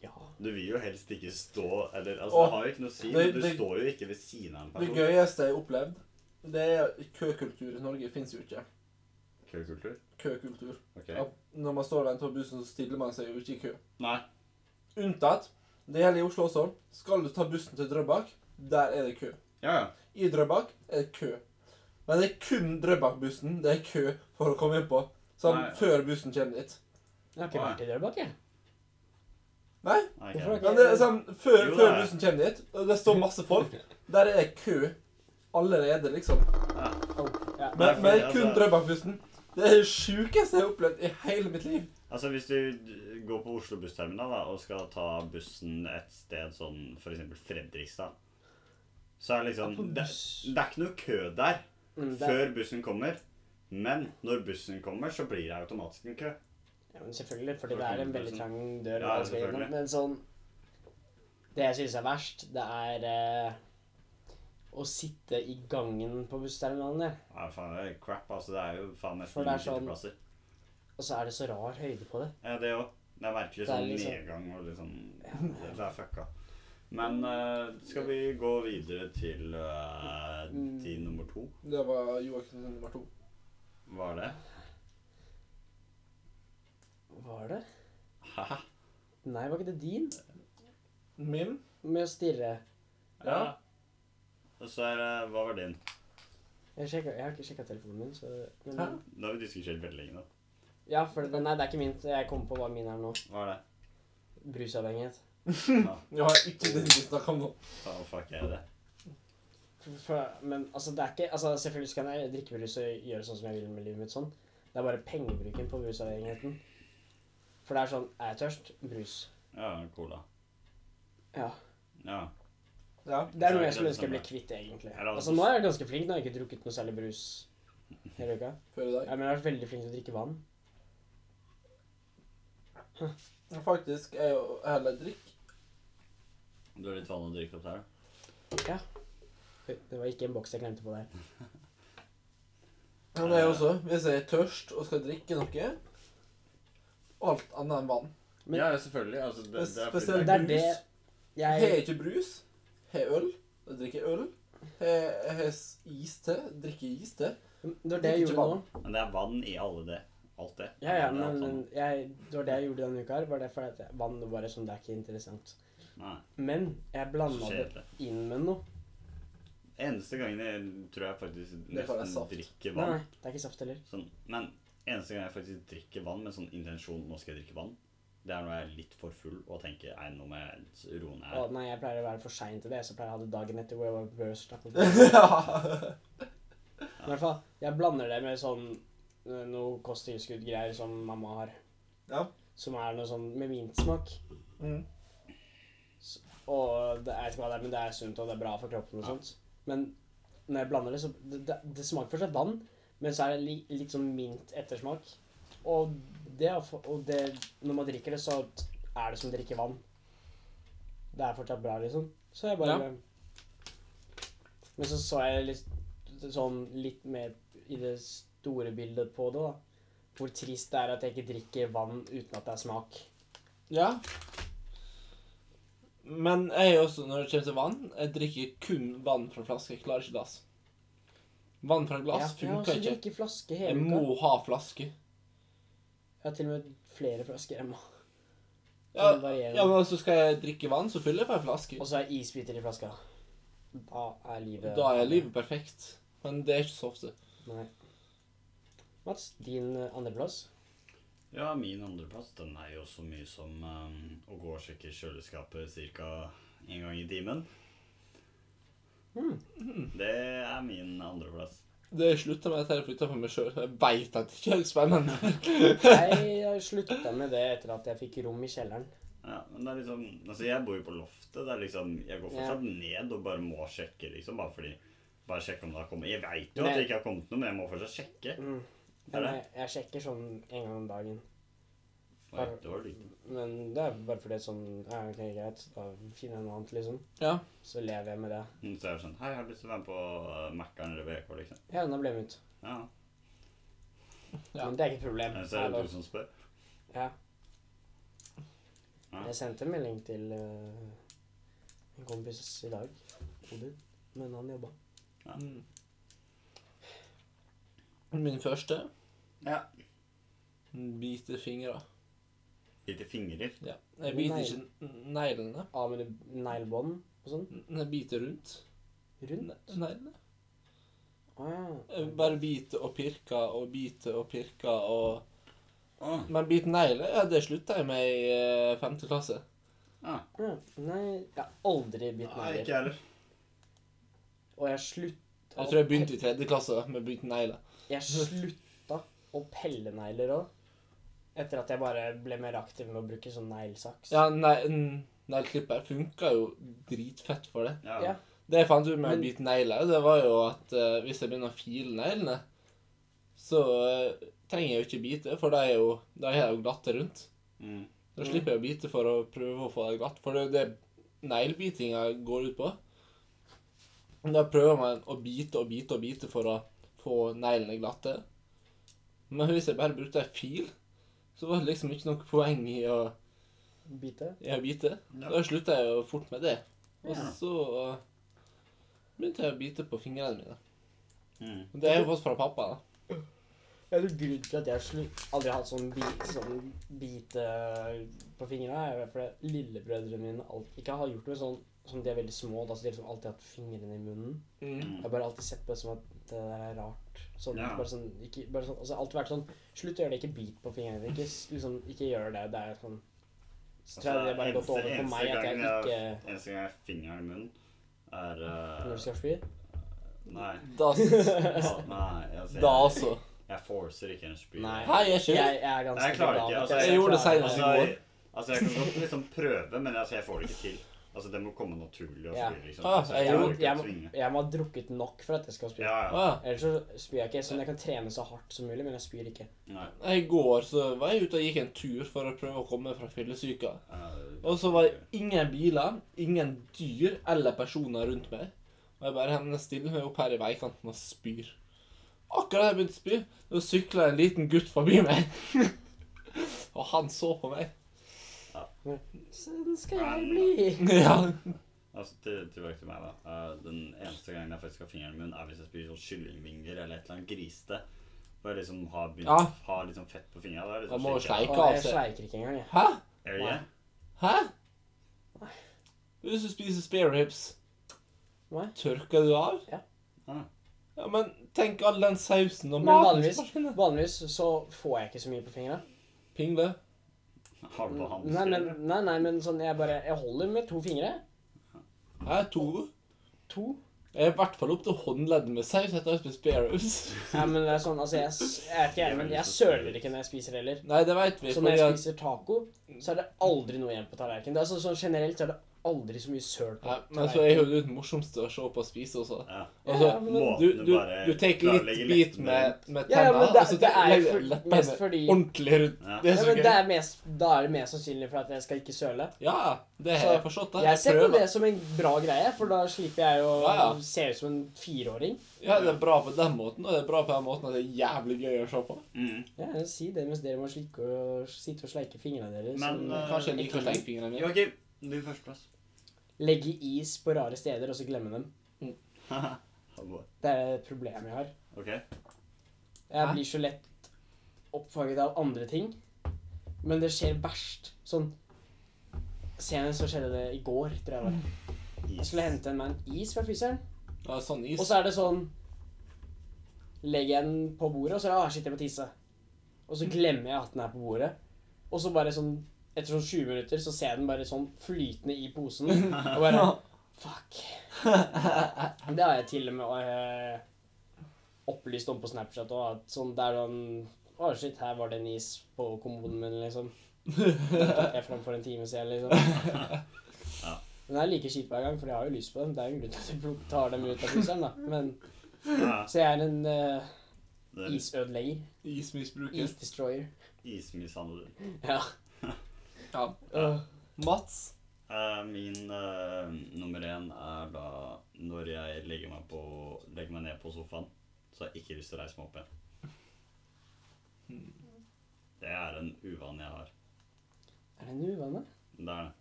[SPEAKER 1] ja.
[SPEAKER 2] Du vil jo helst ikke stå Eller altså,
[SPEAKER 3] Åh,
[SPEAKER 2] det har jo ikke noe å si,
[SPEAKER 3] det-
[SPEAKER 2] men du
[SPEAKER 3] det-
[SPEAKER 2] står jo ikke ved siden av en
[SPEAKER 3] Det
[SPEAKER 2] person.
[SPEAKER 3] gøyeste jeg har opplevd, det er køkultur. I Norge fins jo ikke
[SPEAKER 2] Køkultur?
[SPEAKER 3] køkultur.
[SPEAKER 2] Ok.
[SPEAKER 3] At når man står og venter på bussen, så stiller man seg jo ikke i kø.
[SPEAKER 2] Nei.
[SPEAKER 3] Unntatt det gjelder i Oslo også. Skal du ta bussen til Drøbak, der er det kø.
[SPEAKER 2] Ja, ja.
[SPEAKER 3] I Drøbak er det kø. Men det er kun Drøbak-bussen det er kø for å komme inn på. Sånn
[SPEAKER 2] Nei.
[SPEAKER 3] før bussen kommer dit.
[SPEAKER 1] Jeg har ikke vært i Drøbak, jeg.
[SPEAKER 3] Nei,
[SPEAKER 2] Nei,
[SPEAKER 1] Hvorfor
[SPEAKER 2] ikke.
[SPEAKER 1] er
[SPEAKER 3] men det er sånn før,
[SPEAKER 2] Jo, det
[SPEAKER 3] før
[SPEAKER 2] er-
[SPEAKER 3] bussen kommer dit, og det står masse folk, der er det kø allerede, liksom.
[SPEAKER 1] Åh, ja.
[SPEAKER 3] Men, men det er kun
[SPEAKER 2] Altså-
[SPEAKER 3] Drøbak-bussen. Det er det sjukeste jeg har opplevd i hele mitt liv.
[SPEAKER 2] Altså Hvis du d- går på Oslo bussterminal da, og skal ta bussen et sted sånn f.eks. Fredrikstad, så er det liksom
[SPEAKER 1] Ja, på
[SPEAKER 2] det,
[SPEAKER 1] buss.
[SPEAKER 2] det er ikke noe kø der
[SPEAKER 1] Mm, det,
[SPEAKER 2] før bussen kommer. Men når bussen kommer, så blir det automatisk en kø.
[SPEAKER 1] ja, men selvfølgelig, fordi det er en veldig trang dør.
[SPEAKER 2] Ja,
[SPEAKER 1] man skal gjennom,
[SPEAKER 2] selvfølgelig.
[SPEAKER 1] Men sånn Det jeg synes er verst, det er eh, å sitte i gangen på bussterminalen der.
[SPEAKER 2] Ja, faen, det er crap, altså. Det er jo faen
[SPEAKER 1] For
[SPEAKER 2] nesten
[SPEAKER 1] det er
[SPEAKER 2] ingen
[SPEAKER 1] sånn-
[SPEAKER 2] sitteplasser.
[SPEAKER 1] Og så er det så rar høyde på det.
[SPEAKER 2] Ja, det òg. Det er virkelig
[SPEAKER 1] Det er
[SPEAKER 2] sånn
[SPEAKER 1] liksom-
[SPEAKER 2] nedgang og litt sånn Det det er fucka. Men eh, skal vi gå videre til eh,
[SPEAKER 1] Mm.
[SPEAKER 2] din nummer to?
[SPEAKER 3] Det var Joakim nummer to.
[SPEAKER 2] Hva er det?
[SPEAKER 1] Var det?
[SPEAKER 2] Hæ?
[SPEAKER 1] Nei, var ikke det din?
[SPEAKER 3] Min?
[SPEAKER 1] Med å stirre.
[SPEAKER 2] Ja.
[SPEAKER 3] Ja.
[SPEAKER 2] Og så er det Hva var din?
[SPEAKER 1] Jeg, sjekket, jeg har ikke sjekka telefonen min, så men,
[SPEAKER 3] Hæ?
[SPEAKER 2] Nå har vi diskutert veldig lenge, da.
[SPEAKER 1] Ja, for det, nei, det er ikke min. Jeg kom på hva min er nå.
[SPEAKER 2] Hva er det?
[SPEAKER 1] Brusavhengighet.
[SPEAKER 2] Ja,
[SPEAKER 3] Ja, ikke den vi snakka om nå.
[SPEAKER 2] faen, fuck er det?
[SPEAKER 1] For, for, men altså, det er ikke Altså, selvfølgelig kan jeg drikke brus og gjøre sånn som jeg vil med livet mitt sånn. Det er bare pengebruken på brusavhengigheten. For det er sånn Er jeg tørst? Brus.
[SPEAKER 2] Ja, cola.
[SPEAKER 1] Ja.
[SPEAKER 2] Ja.
[SPEAKER 3] Ja.
[SPEAKER 1] Det er noe jeg skulle ønske jeg ble kvitt, egentlig.
[SPEAKER 2] Er det
[SPEAKER 1] Altså, nå er jeg ganske flink. Nå har jeg ikke drukket noe særlig brus hele uka.
[SPEAKER 3] Før i dag.
[SPEAKER 1] Jeg men jeg har vært veldig flink til å drikke vann.
[SPEAKER 3] Ja, Faktisk er jo heller drikk.
[SPEAKER 2] Du har litt vann å drikke opp der, da?
[SPEAKER 1] Oi, Det var ikke en boks jeg glemte på der.
[SPEAKER 3] Men det er jo også, hvis jeg er tørst og skal drikke noe Alt annet enn vann.
[SPEAKER 1] Men-
[SPEAKER 2] ja, ja, selvfølgelig. Altså, det, det er fordi
[SPEAKER 3] Spesielt
[SPEAKER 1] Det
[SPEAKER 2] det er,
[SPEAKER 1] er det
[SPEAKER 3] Brus. Har jeg
[SPEAKER 1] jeg
[SPEAKER 3] ikke brus, har jeg øl, da drikker jeg øl. Har jeg har s- iste, drikker jeg iste.
[SPEAKER 1] Det var det jeg
[SPEAKER 3] Ikke
[SPEAKER 1] gjorde
[SPEAKER 3] vann.
[SPEAKER 1] nå.
[SPEAKER 2] men det er vann i alle det. Alt det.
[SPEAKER 1] Ja, ja,
[SPEAKER 2] Det er alt
[SPEAKER 1] men men
[SPEAKER 2] sammen.
[SPEAKER 1] jeg, det var det jeg gjorde denne uka her. Var det fordi at jeg- vann var bare sånn Det er ikke interessant.
[SPEAKER 2] Nei,
[SPEAKER 1] Men jeg
[SPEAKER 2] så
[SPEAKER 1] blanda det
[SPEAKER 2] kjedelig.
[SPEAKER 1] inn med noe.
[SPEAKER 2] Eneste gangen jeg tror jeg faktisk
[SPEAKER 3] Det kaller jeg
[SPEAKER 2] nesten
[SPEAKER 3] saft.
[SPEAKER 2] drikker
[SPEAKER 1] Nei,
[SPEAKER 2] vann
[SPEAKER 1] nei, det er ikke saft heller.
[SPEAKER 2] sånn, Men eneste gang jeg faktisk drikker vann med sånn intensjon Nå skal jeg drikke vann. Det er når jeg er litt for full og tenker Nei, nå må jeg roe ned.
[SPEAKER 1] Å,
[SPEAKER 2] her».
[SPEAKER 1] nei, jeg pleier å være for sein til det. Så pleier jeg å ha det dagen etter hvor jeg var børst. I
[SPEAKER 3] ja.
[SPEAKER 1] hvert fall, jeg blander det med sånn eh, noe kosttilskudd-greier som mamma har.
[SPEAKER 3] Ja.
[SPEAKER 1] Som er noe sånn med mintsmak.
[SPEAKER 3] Mm.
[SPEAKER 1] Og det, jeg vet ikke hva det er, men det er sunt, og det er bra for kroppen og
[SPEAKER 2] Ja.
[SPEAKER 1] sånt. Men når jeg blander det, så det, det, det smaker fortsatt vann, men så er det li, litt sånn mint ettersmak. Og det, å få- og det Når man drikker det, så er det som å drikke vann. Det er fortsatt bra, liksom. Så jeg bare Men så så jeg litt sånn litt mer i det store bildet på det, da. Hvor trist det er at jeg ikke drikker vann uten at det er smak.
[SPEAKER 3] ja. Men jeg er også, når det kommer til vann, jeg drikker kun vann fra flaske. Jeg klarer ikke glass. Vann fra glass
[SPEAKER 1] ja, jeg
[SPEAKER 3] funker
[SPEAKER 1] også
[SPEAKER 3] ikke.
[SPEAKER 1] drikker flaske
[SPEAKER 3] Jeg
[SPEAKER 1] hele uka.
[SPEAKER 3] må ha flaske.
[SPEAKER 1] Jeg har til og med flere flasker hjemme.
[SPEAKER 3] Ja,
[SPEAKER 1] Som varierer.
[SPEAKER 3] ja, men så skal jeg drikke vann, så fyller jeg på en flaske.
[SPEAKER 1] Og så er isbiter i flaska. Da er livet
[SPEAKER 3] Da er livet perfekt. Men det er ikke så ofte.
[SPEAKER 1] Nei. Mats, din eh, andreplass?
[SPEAKER 2] Ja, min andreplass den er jo så mye som eh, å gå og sjekke kjøleskapet ca. en gang i timen.
[SPEAKER 1] Mm.
[SPEAKER 2] Det er min andreplass.
[SPEAKER 3] Det slutta med at jeg flytta for meg sjøl. Jeg veit at det ikke er helt spennende.
[SPEAKER 1] Jeg har slutta med det etter at jeg fikk rom i kjelleren.
[SPEAKER 2] Ja, men det er liksom Altså, jeg bor jo på loftet. Det er liksom Jeg går fortsatt ned og bare må sjekke, liksom. Bare fordi Bare sjekke om det har kommet Jeg veit jo
[SPEAKER 1] Men-
[SPEAKER 2] at det ikke har kommet noe, men jeg må fortsatt sjekke.
[SPEAKER 1] Mm.
[SPEAKER 2] Er
[SPEAKER 1] Men
[SPEAKER 2] det?
[SPEAKER 1] jeg, jeg sjekker sånn en gang om dagen.
[SPEAKER 2] Oi, det var litt
[SPEAKER 1] Men det er bare fordi det er sånn ja, ok, greit, da finner jeg noe annet, liksom.
[SPEAKER 3] Ja.
[SPEAKER 1] Så lever jeg med det.
[SPEAKER 2] Mm, Så er det sånn Hei, jeg har lyst til å være med på eh, Mækkern eller VK, liksom.
[SPEAKER 1] Ja, da ble jeg med ut.
[SPEAKER 2] Ja.
[SPEAKER 3] Ja.
[SPEAKER 1] Men det er ikke et problem.
[SPEAKER 2] Men Så er det
[SPEAKER 1] Hallo.
[SPEAKER 2] du som spør.
[SPEAKER 1] Ja.
[SPEAKER 2] Ja.
[SPEAKER 1] Jeg sendte en melding til eh, en kompis i dag, Odin, men han jobba.
[SPEAKER 3] Mm. Min første
[SPEAKER 2] Ja.
[SPEAKER 3] biter fingre.
[SPEAKER 2] Bite fingrer.
[SPEAKER 3] Ja. Jeg biter
[SPEAKER 1] Nei.
[SPEAKER 3] ikke n- neglene.
[SPEAKER 1] Av med neglebånd og sånn.
[SPEAKER 3] N- Jeg biter rundt
[SPEAKER 1] Rund.
[SPEAKER 3] ne- neglene.
[SPEAKER 1] Å ja.
[SPEAKER 3] Jeg bare biter og pirker og biter og pirker og
[SPEAKER 2] Å,
[SPEAKER 3] Men bite negler, ja, det slutta jeg med i eh, femte klasse.
[SPEAKER 2] ja.
[SPEAKER 1] Ja, Nei, jeg har aldri bitt
[SPEAKER 2] Nei,
[SPEAKER 1] negler.
[SPEAKER 2] ikke jeg heller.
[SPEAKER 1] Og jeg slutta
[SPEAKER 3] Jeg tror jeg begynte i tredje klasse da, med å bite negler.
[SPEAKER 1] Jeg slutta å pelle negler òg. Etter at jeg bare ble mer aktiv med å bruke sånn neglesaks.
[SPEAKER 3] Ja, nei- n- Negleklipper funka jo dritfett for det.
[SPEAKER 2] Ja.
[SPEAKER 1] Ja.
[SPEAKER 3] Det jeg fant ut med å
[SPEAKER 1] Men-
[SPEAKER 3] bite negler, det var jo at eh, hvis jeg begynner å file neglene, så eh, trenger jeg jo ikke bite, for da er jo, da er jeg jo glatte rundt.
[SPEAKER 2] Mm.
[SPEAKER 3] Da
[SPEAKER 1] Mm.
[SPEAKER 3] slipper jeg å bite for å prøve å få det glatt, for det er jo det neglebitinga går ut på. Da prøver man å bite og bite og bite for å få neglene glatte. Men hvis jeg bare brukte en fil, Så det var liksom ikke noe poeng i å,
[SPEAKER 1] Bite.
[SPEAKER 3] i å bite.
[SPEAKER 2] Ja.
[SPEAKER 3] Da slutta jeg jo fort med det. Og
[SPEAKER 2] Ja.
[SPEAKER 3] så eh, begynte jeg å bite på fingrene mine.
[SPEAKER 2] Mm.
[SPEAKER 3] Og Det har jeg fått fra pappa. da.
[SPEAKER 1] Ja, du, grunnen til at jeg slu- aldri har hatt sånn bit, sånn bite på fingrene, er jo fordi lillebrødrene mine alt, ikke har gjort noe sånn som de er veldig små. Da, så de har liksom alltid hatt fingrene i munnen.
[SPEAKER 2] Mm.
[SPEAKER 1] Jeg har bare alltid sett på det som at eh, det der er rart. Sånn,
[SPEAKER 2] Ja.
[SPEAKER 1] bare sånn, ikke, bare sånn, altså, alltid vært sånn Slutt å gjøre det, ikke bit på fingrene dine. Ikke, s- liksom, ikke gjør det. Det er sånn Så tror jeg det bare har gått
[SPEAKER 2] Altså, eneste-
[SPEAKER 1] over for meg
[SPEAKER 2] eneste
[SPEAKER 1] at jeg
[SPEAKER 2] gangen
[SPEAKER 1] ikke
[SPEAKER 2] har- Eneste gang jeg har fingeren i munnen, er eh,
[SPEAKER 1] Når du skal spy?
[SPEAKER 2] Nei.
[SPEAKER 3] Da,
[SPEAKER 2] Ja, nei altså,
[SPEAKER 3] da
[SPEAKER 2] jeg,
[SPEAKER 3] altså.
[SPEAKER 2] jeg forcer ikke en spy.
[SPEAKER 1] Nei.
[SPEAKER 3] Hei, jeg
[SPEAKER 1] Jeg,
[SPEAKER 3] skjønner.
[SPEAKER 1] jeg er ganske
[SPEAKER 2] Jeg klarer
[SPEAKER 1] liberal,
[SPEAKER 2] ikke, altså,
[SPEAKER 1] at
[SPEAKER 2] jeg
[SPEAKER 3] gjorde det
[SPEAKER 1] klarer-
[SPEAKER 3] senest.
[SPEAKER 2] Altså, jeg, altså, jeg kan godt liksom prøve, men altså, jeg får det ikke til. Altså, Det må komme naturlig. og
[SPEAKER 1] Ja.
[SPEAKER 2] spy, liksom.
[SPEAKER 3] Ah,
[SPEAKER 2] Altså, jeg
[SPEAKER 3] jeg
[SPEAKER 2] klarer
[SPEAKER 1] må-
[SPEAKER 2] ikke
[SPEAKER 1] jeg
[SPEAKER 2] å
[SPEAKER 1] må-
[SPEAKER 2] tvinge.
[SPEAKER 1] Jeg må ha drukket nok for at jeg skal spy.
[SPEAKER 2] Ja, ja.
[SPEAKER 3] Ah,
[SPEAKER 1] Ellers så spyr jeg ikke. Sånn, jeg kan trene så hardt som mulig, men jeg spyr ikke.
[SPEAKER 2] Nei.
[SPEAKER 3] I går så var jeg ute og gikk en tur for å prøve å komme fra fyllesyka.
[SPEAKER 2] eh,
[SPEAKER 3] Og så var det ingen biler, ingen dyr eller personer rundt meg. Og jeg bare hender stiller meg opp her i veikanten og spyr. Akkurat da jeg begynte å spy, da sykla en liten gutt forbi meg. og han så på meg.
[SPEAKER 1] Sånn skal jeg bli.
[SPEAKER 3] ja.
[SPEAKER 2] Altså, til, tilbake til meg, da. Eh, den eneste gangen jeg faktisk har fingeren i munnen, er hvis jeg spiser sånn kyllingvinger eller et eller annet grisete. Hvor jeg liksom har, begynt,
[SPEAKER 3] Ja.
[SPEAKER 2] har liksom fett på fingra. Da er det
[SPEAKER 3] Da
[SPEAKER 2] liksom
[SPEAKER 3] må du
[SPEAKER 2] skikkelig-
[SPEAKER 3] sleike.
[SPEAKER 1] Og jeg sleiker ikke engang, jeg.
[SPEAKER 3] Hæ?
[SPEAKER 2] Er det ikke?
[SPEAKER 3] Hæ? Hvis du spiser spareribs,
[SPEAKER 1] Nei.
[SPEAKER 3] tørker du av?
[SPEAKER 1] Ja.
[SPEAKER 2] Ah.
[SPEAKER 3] Ja, men tenk all den sausen og
[SPEAKER 1] Men
[SPEAKER 3] maten
[SPEAKER 1] vanligvis-
[SPEAKER 3] som forsvinner.
[SPEAKER 1] Vanligvis så får jeg ikke så mye på fingra.
[SPEAKER 3] Pingle.
[SPEAKER 2] Har du på
[SPEAKER 1] Nei,
[SPEAKER 2] hansker?
[SPEAKER 1] men,
[SPEAKER 2] eller?
[SPEAKER 1] nei, nei, men sånn Jeg bare Jeg holder med to fingre.
[SPEAKER 3] Hæ, to?
[SPEAKER 1] To.
[SPEAKER 3] Jeg er i hvert fall opp til håndleddet med saus etter å ha spist spareribs.
[SPEAKER 1] Nei, men det er sånn Altså, jeg, s- jeg vet ikke, jeg, men jeg søler ikke når jeg spiser heller.
[SPEAKER 3] Nei, det veit vi.
[SPEAKER 1] Så når
[SPEAKER 3] fordi
[SPEAKER 1] Sånn jeg
[SPEAKER 3] at
[SPEAKER 1] spiser taco, så er det aldri noe igjen på tallerkenen. Det er altså, sånn generelt så er det aldri så mye søl på
[SPEAKER 3] Nei, men altså, så er jo det morsomste å se på å spise også.
[SPEAKER 2] Ja.
[SPEAKER 3] Altså,
[SPEAKER 1] Ja, men-
[SPEAKER 3] du, du,
[SPEAKER 2] bare
[SPEAKER 3] du tar litt
[SPEAKER 2] klarlegge
[SPEAKER 3] bit
[SPEAKER 2] leppene.
[SPEAKER 3] med, med
[SPEAKER 1] Ja, ja,
[SPEAKER 3] tenna,
[SPEAKER 1] men det-
[SPEAKER 3] og så
[SPEAKER 1] det er jo
[SPEAKER 3] legger
[SPEAKER 1] for-
[SPEAKER 3] leppene
[SPEAKER 1] mest fordi-
[SPEAKER 3] ordentlig rundt.
[SPEAKER 2] Ja.
[SPEAKER 3] Det
[SPEAKER 1] Ja,
[SPEAKER 3] er så
[SPEAKER 1] men det
[SPEAKER 3] gøy.
[SPEAKER 1] er mest, da er det mest sannsynlig for at jeg skal ikke søle.
[SPEAKER 3] Ja, det har
[SPEAKER 1] Så
[SPEAKER 3] jeg forstått. da.
[SPEAKER 1] Jeg ser på
[SPEAKER 3] prøver.
[SPEAKER 1] det som en bra greie, for da slipper jeg å
[SPEAKER 3] Ja, ja.
[SPEAKER 1] se ut som en fireåring.
[SPEAKER 3] Ja, det er bra på den måten, og det er bra på den måten at det er jævlig gøy å se på.
[SPEAKER 2] Mm.
[SPEAKER 1] Ja, si det mens dere må slikke og, sitte og sleike fingrene deres.
[SPEAKER 2] Men,
[SPEAKER 1] og
[SPEAKER 2] eh,
[SPEAKER 3] Kanskje jeg liker å slenge fingrene mine.
[SPEAKER 2] Joakim, din førsteplass.
[SPEAKER 1] legge is på rare steder og så glemme dem. Det er et problem jeg har.
[SPEAKER 2] ok.
[SPEAKER 1] Jeg
[SPEAKER 3] Hæ?
[SPEAKER 1] blir så lett oppfanget av andre ting. Men det skjer verst. Sånn Senest så skjedde det i går, tror jeg det var. Jeg skulle hente en meg en is fra fryseren.
[SPEAKER 3] Ja, sånn is.
[SPEAKER 1] Og så er det sånn Legger jeg den på bordet, og så er det, ah, shit, jeg må tisse. Og så glemmer jeg at den er på bordet. Og så bare sånn Etter sånn 20 minutter så ser jeg den bare sånn flytende i posen. Og bare Fuck. Det har jeg til og med eh, opplyst om på Snapchat òg. At sånn det er sånn Å, shit, her var det en is på kommoden min, liksom. Den tok jeg fram for en time siden, liksom. Men det er like kjipt hver gang, for jeg har jo lyst på dem. Det er jo en grunn til at du tar dem ut av fryseren, da. Men
[SPEAKER 2] Ja,
[SPEAKER 1] så jeg er en eh,
[SPEAKER 2] det er
[SPEAKER 1] isødelegger.
[SPEAKER 3] Ismisbruker.
[SPEAKER 1] Is destroyer.
[SPEAKER 2] Ismishandler.
[SPEAKER 1] Ja.
[SPEAKER 3] Ja. Øh, Mats.
[SPEAKER 2] Eh, min eh, nummer én er da når jeg legger meg, på, legger meg ned på sofaen, så har jeg ikke lyst til å reise meg opp igjen. Det er en uvane jeg har.
[SPEAKER 1] Er det en uvane?
[SPEAKER 2] Det er det.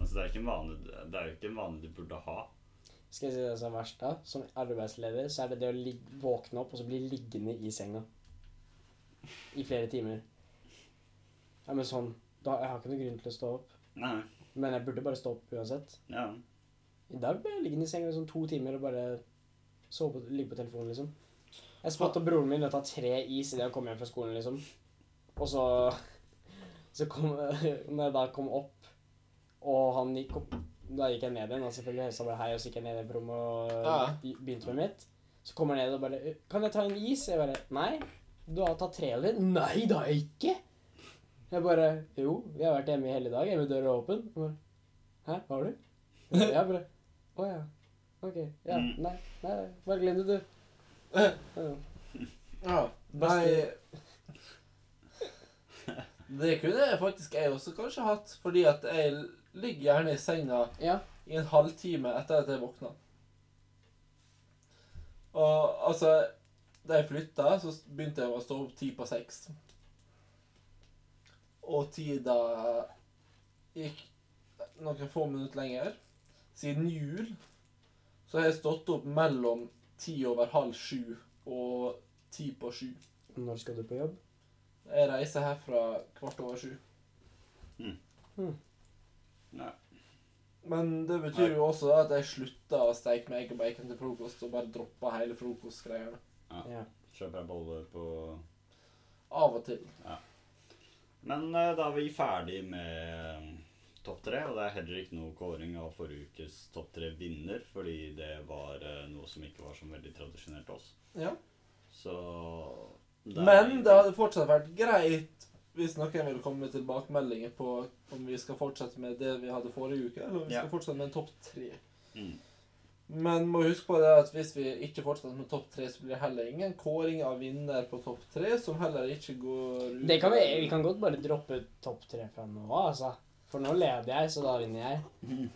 [SPEAKER 2] Altså, det er, ikke en vane, det er jo ikke en vane du burde ha.
[SPEAKER 1] Skal jeg si det som er verst, da? Som arbeidsleder så er det det å lig våkne opp og så bli liggende i senga. I flere timer. Ja, men sånn da, Jeg har ikke noen grunn til å stå opp.
[SPEAKER 2] Nei,
[SPEAKER 1] Men jeg burde bare stå opp uansett.
[SPEAKER 2] ja.
[SPEAKER 1] I dag ble jeg liggende i senga i sånn to timer og bare sove på, ligge på telefonen, liksom. Jeg spotta broren min og ta tre is idet han kom hjem fra skolen, liksom. Og så Så kom Når jeg da kom opp, og han gikk opp Da gikk jeg ned igjen, og selvfølgelig helsa bare hei, og så gikk jeg ned igjen på rommet og
[SPEAKER 3] Ja.
[SPEAKER 1] be- begynte med mitt. Så kommer han ned og bare 'Kan jeg ta en is?' Jeg bare 'Nei, du har tatt tre eller?' 'Nei, det har jeg ikke'. Jeg bare 'Jo, vi har vært hjemme i hele dag, hjemme døra er åpen'. Jeg bare 'Hæ, har du?' Jeg bare, jeg bare 'Å ja. Ok. Ja.
[SPEAKER 2] Mm.
[SPEAKER 1] Nei, nei, bare glem det, du'. Ja.
[SPEAKER 3] Ja.
[SPEAKER 1] Beste-
[SPEAKER 3] Det kunne jeg faktisk jeg også kanskje hatt, fordi at jeg ligger gjerne i senga
[SPEAKER 1] Ja.
[SPEAKER 3] i en halvtime etter at jeg våkna. Og altså Da jeg flytta, så begynte jeg å stå opp ti på seks. og tida gikk noen få minutter lenger. Siden jul så har jeg stått opp mellom ti over halv sju og ti på sju.
[SPEAKER 1] Når skal du på jobb?
[SPEAKER 3] Jeg reiser herfra kvart over sju.
[SPEAKER 2] Nei.
[SPEAKER 3] Men det betyr jo også at jeg slutta å steke meg og bacon til frokost, og bare droppa hele frokostgreiene.
[SPEAKER 1] Ja.
[SPEAKER 2] Kjøper jeg bolle på
[SPEAKER 3] Av og til.
[SPEAKER 2] Men eh, da er vi ferdig med mm, topp tre, og det er heller ikke noe kåring av forrige ukes topp tre vinner, fordi det var eh, noe som ikke var så veldig tradisjonelt til oss.
[SPEAKER 3] Ja.
[SPEAKER 2] Så det er-
[SPEAKER 3] Men det hadde fortsatt vært greit hvis noen ville komme med tilbakemeldinger på om vi skal fortsette med det vi hadde forrige uke, eller om vi
[SPEAKER 2] Ja.
[SPEAKER 3] skal fortsette med en topp tre.
[SPEAKER 2] Mm.
[SPEAKER 3] Men må huske på det at hvis vi ikke fortsetter med topp tre, så blir det heller ingen kåring av vinner på topp tre, som heller ikke går ut
[SPEAKER 1] Det kan vi, vi kan godt bare droppe topp tre fra nå av, altså. For nå leder jeg, så da vinner jeg.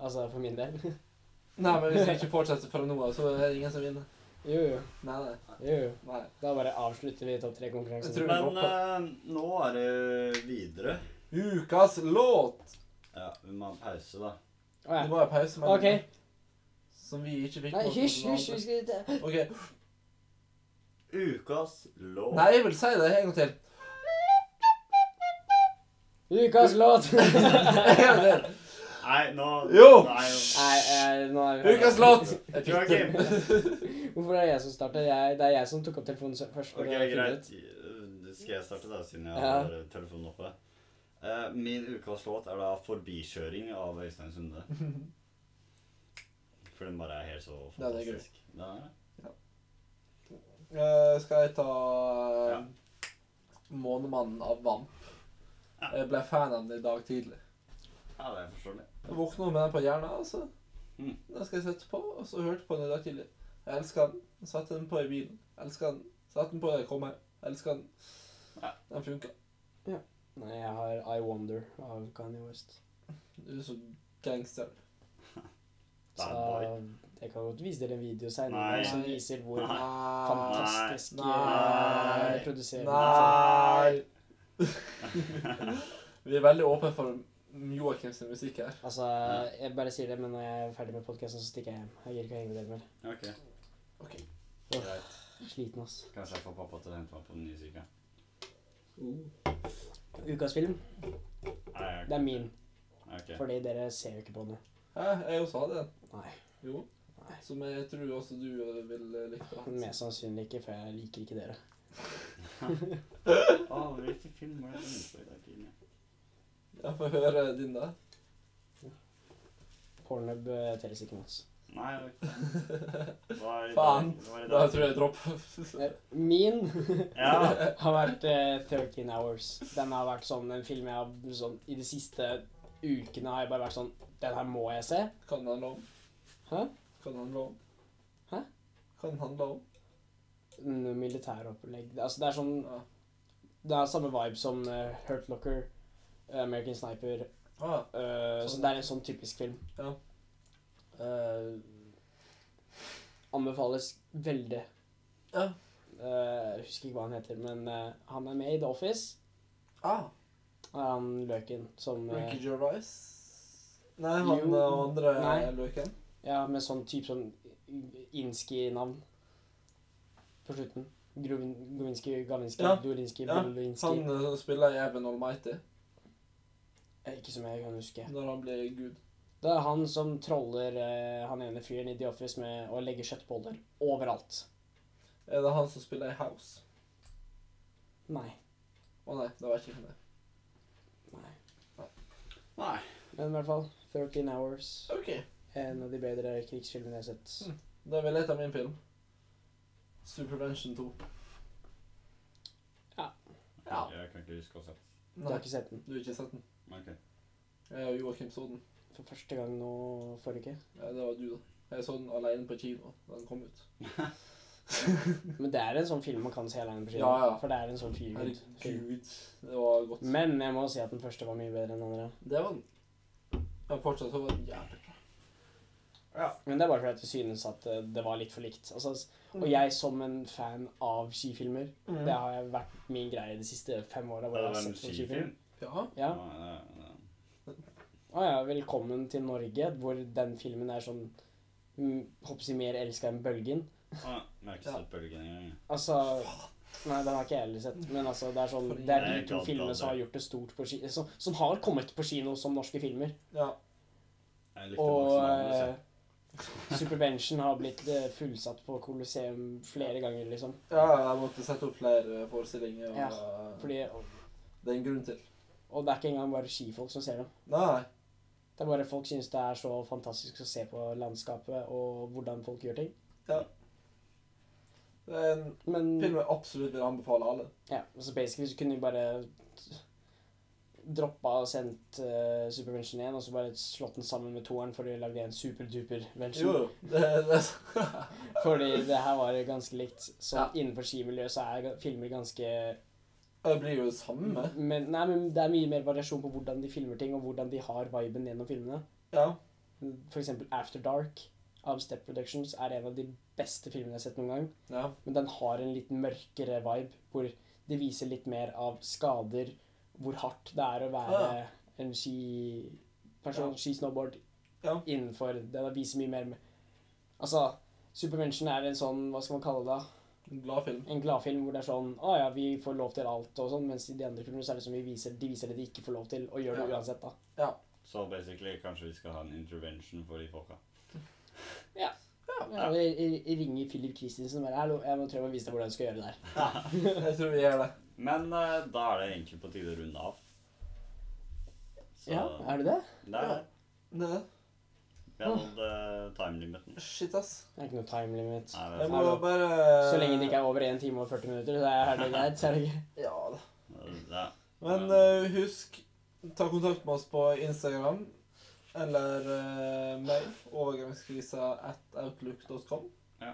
[SPEAKER 1] altså for min del.
[SPEAKER 3] Nei, men hvis vi ikke fortsetter fra nå av, så er det ingen som vinner.
[SPEAKER 1] Jo, jo.
[SPEAKER 3] Nei, nei.
[SPEAKER 1] jo, jo.
[SPEAKER 3] nei.
[SPEAKER 1] Da bare avslutter vi topp
[SPEAKER 3] Jeg tror-
[SPEAKER 1] tre-konkurransen.
[SPEAKER 2] Men eh, nå er det videre.
[SPEAKER 3] Ukas låt!
[SPEAKER 2] Ja, vi må ha en pause, da.
[SPEAKER 1] Å
[SPEAKER 3] Det
[SPEAKER 1] ja.
[SPEAKER 3] var en pause mellom
[SPEAKER 1] OK.
[SPEAKER 3] som vi ikke fikk
[SPEAKER 1] Nei,
[SPEAKER 3] med oss
[SPEAKER 1] hysj,
[SPEAKER 3] noen
[SPEAKER 1] hysj.
[SPEAKER 3] andre.
[SPEAKER 1] vi skal ut.
[SPEAKER 3] Ok,
[SPEAKER 2] Ukas låt.
[SPEAKER 3] Nei, jeg vil si det en gang til.
[SPEAKER 1] Ukas låt!
[SPEAKER 3] En gang til.
[SPEAKER 2] Nei, nå
[SPEAKER 3] Jo!
[SPEAKER 2] Nei,
[SPEAKER 1] Nei, eh, nå er vi
[SPEAKER 3] Ukas låt! Jeg fikk
[SPEAKER 2] Joakim.
[SPEAKER 3] det.
[SPEAKER 1] Hvorfor er det jeg som starter? Jeg, det er jeg som tok opp telefonen sø- først. for
[SPEAKER 2] Ok,
[SPEAKER 1] å finne
[SPEAKER 2] greit.
[SPEAKER 1] ut.
[SPEAKER 2] Skal jeg starte, da, siden jeg
[SPEAKER 1] Ja.
[SPEAKER 2] har telefonen oppe? Eh, min ukas låt er da 'Forbikjøring' av Øystein Sunde. For den bare er helt så
[SPEAKER 3] Ja, det er
[SPEAKER 2] fantastisk. Den er det.
[SPEAKER 3] Eh, skal jeg ta eh,
[SPEAKER 2] Ja.
[SPEAKER 3] Månemannen av Vamp? Jeg ble fan av den i dag tidlig.
[SPEAKER 2] Ja, det er forståelig.
[SPEAKER 3] Jeg våkna med den på hjernen, altså.
[SPEAKER 2] Mm.
[SPEAKER 3] Den skal jeg sette på, og så hørte jeg på den i dag tidlig. Jeg elsker den. Satte den på i bilen. Elsker den. Satte den på da jeg kom her. Elsker den.
[SPEAKER 2] Ja.
[SPEAKER 3] Den funka.
[SPEAKER 1] Nei, jeg har I Wonder av Kanye West.
[SPEAKER 3] Du er så gangster.
[SPEAKER 1] Så
[SPEAKER 2] Bad boy.
[SPEAKER 1] jeg kan godt vise dere en video senere
[SPEAKER 2] Nei.
[SPEAKER 1] som viser hvor
[SPEAKER 2] Nei.
[SPEAKER 1] fantastisk
[SPEAKER 3] Nei.
[SPEAKER 1] eh, produserende
[SPEAKER 3] Nei! Vi er veldig åpne for Joakim sin musikk her.
[SPEAKER 1] Altså, jeg bare sier det, men når jeg er ferdig med podkasten, så stikker jeg hjem. Jeg gir ikke å henge med dere mer.
[SPEAKER 2] Ok,
[SPEAKER 3] Ok.
[SPEAKER 2] greit.
[SPEAKER 1] Sliten, ass.
[SPEAKER 2] Kanskje jeg får pappa til å hente meg på den nye sykkelen.
[SPEAKER 1] Ukas film,
[SPEAKER 2] Nei, jeg-
[SPEAKER 1] det er min.
[SPEAKER 2] Ok.
[SPEAKER 1] Fordi dere ser jo ikke på den.
[SPEAKER 3] Hæ? Jeg også hadde den.
[SPEAKER 1] Nei.
[SPEAKER 3] Jo.
[SPEAKER 1] Nei.
[SPEAKER 3] Som jeg tror også du eh, ville likt å ha.
[SPEAKER 1] Mest sannsynlig ikke, for jeg liker ikke dere.
[SPEAKER 2] Å, hvilken film var det jeg tenkte på i dag tidlig?
[SPEAKER 3] Jeg får høre din, da.
[SPEAKER 1] Pornhub eh, telles ikke med oss.
[SPEAKER 2] Nei, det var i dag.
[SPEAKER 3] Faen.
[SPEAKER 2] Det var i
[SPEAKER 3] Da
[SPEAKER 2] dag.
[SPEAKER 3] tror jeg jeg dropper.
[SPEAKER 1] Eh, Min
[SPEAKER 2] Ja.
[SPEAKER 1] har vært eh, 13 Hours. Den har vært sånn en film jeg har sånn I de siste ukene har jeg bare vært sånn Den her må jeg se.
[SPEAKER 3] Kan det handle om?
[SPEAKER 1] Hæ?
[SPEAKER 3] Kan det handle om?
[SPEAKER 1] Hæ?
[SPEAKER 3] Kan det handle om?
[SPEAKER 1] Noe militæropplegg Altså, det er sånn
[SPEAKER 3] Ja.
[SPEAKER 1] Det er samme vibe som eh, Hurt Locker, eh, American Sniper
[SPEAKER 3] Ah,
[SPEAKER 1] Eh, så
[SPEAKER 3] Sånn.
[SPEAKER 1] det er en sånn typisk film.
[SPEAKER 3] Ja.
[SPEAKER 1] Eh, anbefales veldig.
[SPEAKER 3] Ja.
[SPEAKER 1] Eh, jeg husker ikke hva han heter, men eh, han er med i The Office.
[SPEAKER 3] ah.
[SPEAKER 1] Og er han løken som eh,
[SPEAKER 3] Ricky Gervais? Nei, han
[SPEAKER 1] Jo.
[SPEAKER 3] eh, andre
[SPEAKER 1] Nei.
[SPEAKER 3] løken.
[SPEAKER 1] Ja, med sånn type sånn Inski-navn på slutten. Gruvin- Gruvinski, Gavinski,
[SPEAKER 3] Ja.
[SPEAKER 1] Dulinski,
[SPEAKER 3] Ja,
[SPEAKER 1] Bulinski
[SPEAKER 3] Han eh, som spiller i Evan Almighty
[SPEAKER 1] Eh, Ikke som jeg kan huske.
[SPEAKER 3] når han blir gud.
[SPEAKER 1] Det er han som troller eh, han ene fyren i The Office med å legge kjøttboller overalt.
[SPEAKER 3] Er det han som spiller i House?
[SPEAKER 1] Nei.
[SPEAKER 3] Å nei, det var ikke han det.
[SPEAKER 1] Nei.
[SPEAKER 2] Nei.
[SPEAKER 1] Men i hvert fall 13 Hours.
[SPEAKER 3] Ok,
[SPEAKER 1] En av de bedre krigsfilmene jeg har sett.
[SPEAKER 3] Mm. da vil jeg ta min film. Supervention 2. Ja.
[SPEAKER 2] Jeg kan ikke huske også.
[SPEAKER 1] Du har
[SPEAKER 3] Nei,
[SPEAKER 1] ikke sett den?
[SPEAKER 3] du har ikke sett den.
[SPEAKER 2] Ok.
[SPEAKER 3] Jeg og Joakim så den.
[SPEAKER 1] For første gang nå forrige uke.
[SPEAKER 3] Ja, det var du, da. Jeg så den alene på kino da den kom ut.
[SPEAKER 1] Men det er en sånn film man kan se alene på kino.
[SPEAKER 3] Ja, ja.
[SPEAKER 1] For det er en sånn feelgood film.
[SPEAKER 3] Herregud, det var godt.
[SPEAKER 1] Men jeg må si at den første var mye bedre enn den andre.
[SPEAKER 3] Det var den. Men fortsatt så var den jævlig bra.
[SPEAKER 1] Men det er bare fordi at jeg synes at eh, det var litt for likt. Altså, s-
[SPEAKER 3] Mm.
[SPEAKER 1] og jeg som en Mm. fan av skifilmer, det har jeg vært min greie de siste fem åra.
[SPEAKER 2] Det var en skifilm.
[SPEAKER 3] Ja.
[SPEAKER 1] Ja.
[SPEAKER 2] Ja, ja, ja.
[SPEAKER 1] Å ja, velkommen til Norge, hvor den filmen er sånn mm, Håper jeg mer elska enn Bølgen.
[SPEAKER 2] Ah, jeg har ikke sett bølgen engang. jeg.
[SPEAKER 1] Altså Nei, den har ikke jeg heller sett. Men altså, det er sånn Det er de
[SPEAKER 2] Nei,
[SPEAKER 1] to
[SPEAKER 2] galt,
[SPEAKER 1] filmene
[SPEAKER 2] galt,
[SPEAKER 1] som har gjort det stort på kino som, som har kommet på kino som norske filmer.
[SPEAKER 3] ja.
[SPEAKER 2] Jeg likte
[SPEAKER 1] Og
[SPEAKER 2] Max
[SPEAKER 1] eh,
[SPEAKER 2] Manus.
[SPEAKER 1] Supervention har blitt eh, fullsatt på Colosseum flere ganger, liksom.
[SPEAKER 3] Ja, jeg måtte sette opp flere forestillinger. Og,
[SPEAKER 1] Ja, Fordi, og,
[SPEAKER 3] Det er en grunn til.
[SPEAKER 1] og det er ikke engang bare skifolk som ser dem.
[SPEAKER 3] Nei.
[SPEAKER 1] Det er bare folk syns det er så fantastisk å se på landskapet og hvordan folk gjør ting.
[SPEAKER 3] Det er en
[SPEAKER 1] Men
[SPEAKER 3] film jeg absolutt vil anbefale alle.
[SPEAKER 1] Ja, altså basically så kunne vi bare droppa og sendt uh, Supervention 1, og så bare slått den sammen med toeren for å lage en superduper
[SPEAKER 3] Jo,
[SPEAKER 1] vention.
[SPEAKER 3] jo. Det, det,
[SPEAKER 1] Fordi det her var ganske likt. Så
[SPEAKER 3] Ja.
[SPEAKER 1] innenfor skimiljøet så er ga- filmer ganske
[SPEAKER 3] det blir jo det samme.
[SPEAKER 1] men, Nei, men det er mye mer variasjon på hvordan de filmer ting, og hvordan de har viben gjennom filmene.
[SPEAKER 3] Ja.
[SPEAKER 1] For eksempel After Dark av Step Productions er en av de beste filmene jeg har sett noen gang.
[SPEAKER 3] ja.
[SPEAKER 1] Men den har en litt mørkere vibe, hvor det viser litt mer av skader, hvor hardt det er å være
[SPEAKER 3] Ah,
[SPEAKER 1] en skiperson,
[SPEAKER 3] Ja.
[SPEAKER 1] skisnowboard,
[SPEAKER 3] Ja.
[SPEAKER 1] innenfor det. Det viser mye mer Altså, Supermenschen er en sånn, hva skal man kalle det, da?
[SPEAKER 3] En glad film.
[SPEAKER 1] en gladfilm hvor det er sånn Å ja, vi får lov til alt og sånn, mens i de andre filmene så er det som vi viser, de viser det de ikke får lov til, og gjør det
[SPEAKER 3] Ja.
[SPEAKER 1] uansett, da.
[SPEAKER 2] Så basically, kanskje vi skal ha en intervention for de folka.
[SPEAKER 1] Ja, jeg, jeg, jeg ringer Philip Christensen og bare Hallo, jeg må prøve å vise deg hvordan du skal gjøre det der.
[SPEAKER 3] Jeg tror vi gjør det.
[SPEAKER 2] Men eh, da er det egentlig på tide å runde av. Så
[SPEAKER 1] Ja, er det det?
[SPEAKER 2] det er det.
[SPEAKER 3] det. er det.
[SPEAKER 2] Vi har nådd eh, timelimiten.
[SPEAKER 3] Shit, ass.
[SPEAKER 1] Det er ikke noe time limit.
[SPEAKER 2] Nei, det
[SPEAKER 3] Jeg
[SPEAKER 2] er
[SPEAKER 3] må
[SPEAKER 1] Hallo.
[SPEAKER 3] bare
[SPEAKER 1] Så lenge det ikke er over 1 time og 40 minutter, så er det greit. Så er det greit.
[SPEAKER 3] Ja da.
[SPEAKER 2] sant. Ja.
[SPEAKER 3] Men eh, husk, ta kontakt med oss på Instagram eller eh, mail overgangskrisa at outlook.com.
[SPEAKER 2] Ja.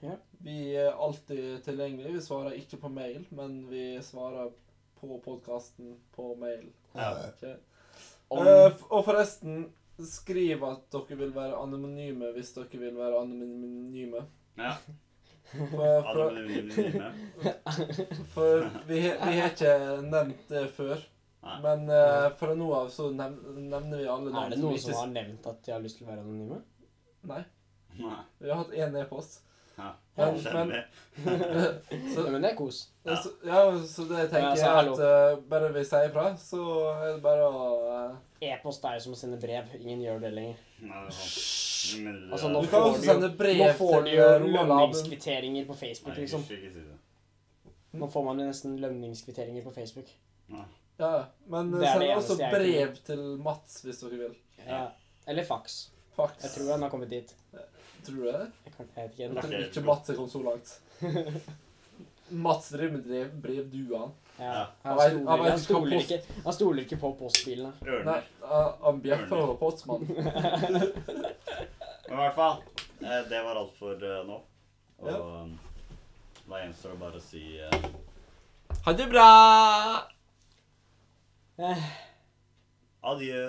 [SPEAKER 1] Ja.
[SPEAKER 3] Vi er alltid tilgjengelige. Vi svarer ikke på mail, men vi svarer på podkasten på mail.
[SPEAKER 2] Ja.
[SPEAKER 3] Ikke? Eh,
[SPEAKER 1] Om,
[SPEAKER 3] f- og forresten, skriv at dere vil være anonyme hvis dere vil være anonyme.
[SPEAKER 2] Ja.
[SPEAKER 3] For, for,
[SPEAKER 2] Anonyme.
[SPEAKER 3] for vi, he- vi har ikke nevnt det før.
[SPEAKER 2] Nei.
[SPEAKER 3] Men eh, fra nå av så nev nevner vi alle
[SPEAKER 1] er det noen som har nevnt at de har lyst til å være anonyme?
[SPEAKER 3] Nei.
[SPEAKER 2] Nei.
[SPEAKER 3] Vi har hatt én e-post.
[SPEAKER 2] Ja.
[SPEAKER 1] Men-
[SPEAKER 2] Kjenner vi.
[SPEAKER 3] Så,
[SPEAKER 1] Ja, men det er kos.
[SPEAKER 2] Ja.
[SPEAKER 3] så, ja, så det
[SPEAKER 1] Ja,
[SPEAKER 3] tenker
[SPEAKER 1] så
[SPEAKER 3] jeg
[SPEAKER 1] hallo.
[SPEAKER 3] at eh, bare vi sier ifra, så er det bare å eh,
[SPEAKER 1] E-post er jo som å sende brev. Ingen gjør det lenger.
[SPEAKER 2] Nei, det er sant. Men eh, det-
[SPEAKER 1] Altså, nå
[SPEAKER 3] Du
[SPEAKER 1] får
[SPEAKER 3] kan
[SPEAKER 1] du
[SPEAKER 3] også
[SPEAKER 1] jo-
[SPEAKER 3] sende brev
[SPEAKER 1] Nå får de
[SPEAKER 3] til
[SPEAKER 1] jo
[SPEAKER 3] eh, Roald Aben.
[SPEAKER 1] lønningskvitteringer på
[SPEAKER 2] Nei,
[SPEAKER 1] Facebook,
[SPEAKER 2] jeg
[SPEAKER 1] liksom.
[SPEAKER 2] skal ikke si det.
[SPEAKER 1] Nå får man jo nesten lønningskvitteringer på Facebook.
[SPEAKER 2] Nei.
[SPEAKER 3] Ja, men eh,
[SPEAKER 1] Det er
[SPEAKER 3] send
[SPEAKER 1] det eneste
[SPEAKER 3] også
[SPEAKER 1] jeg
[SPEAKER 3] brev til Mats hvis dere vil.
[SPEAKER 1] Ja. Eller fax.
[SPEAKER 3] Faks.
[SPEAKER 1] Jeg tror han har kommet dit.
[SPEAKER 3] Tror du det?
[SPEAKER 1] Jeg, kan, jeg vet ikke
[SPEAKER 3] Jeg
[SPEAKER 1] ennå.
[SPEAKER 2] Ok,
[SPEAKER 3] tror ikke
[SPEAKER 2] bra.
[SPEAKER 3] Mats er kommet så langt. Mats driver med brev, brevduaen.
[SPEAKER 1] Ja. Han
[SPEAKER 3] Han vet- han
[SPEAKER 1] stoler-
[SPEAKER 3] vet
[SPEAKER 1] han stoler
[SPEAKER 3] hva
[SPEAKER 1] ikke Han stoler ikke på postbilene.
[SPEAKER 3] Nei,
[SPEAKER 2] Ørner.
[SPEAKER 3] eh, han bjeffer over postmannen.
[SPEAKER 2] Men i hvert fall, eh, det var alt for eh, nå. Og
[SPEAKER 3] Ja.
[SPEAKER 2] um, da gjenstår det bare å si eh,
[SPEAKER 3] Ha det bra!
[SPEAKER 1] Eh.
[SPEAKER 2] adjø.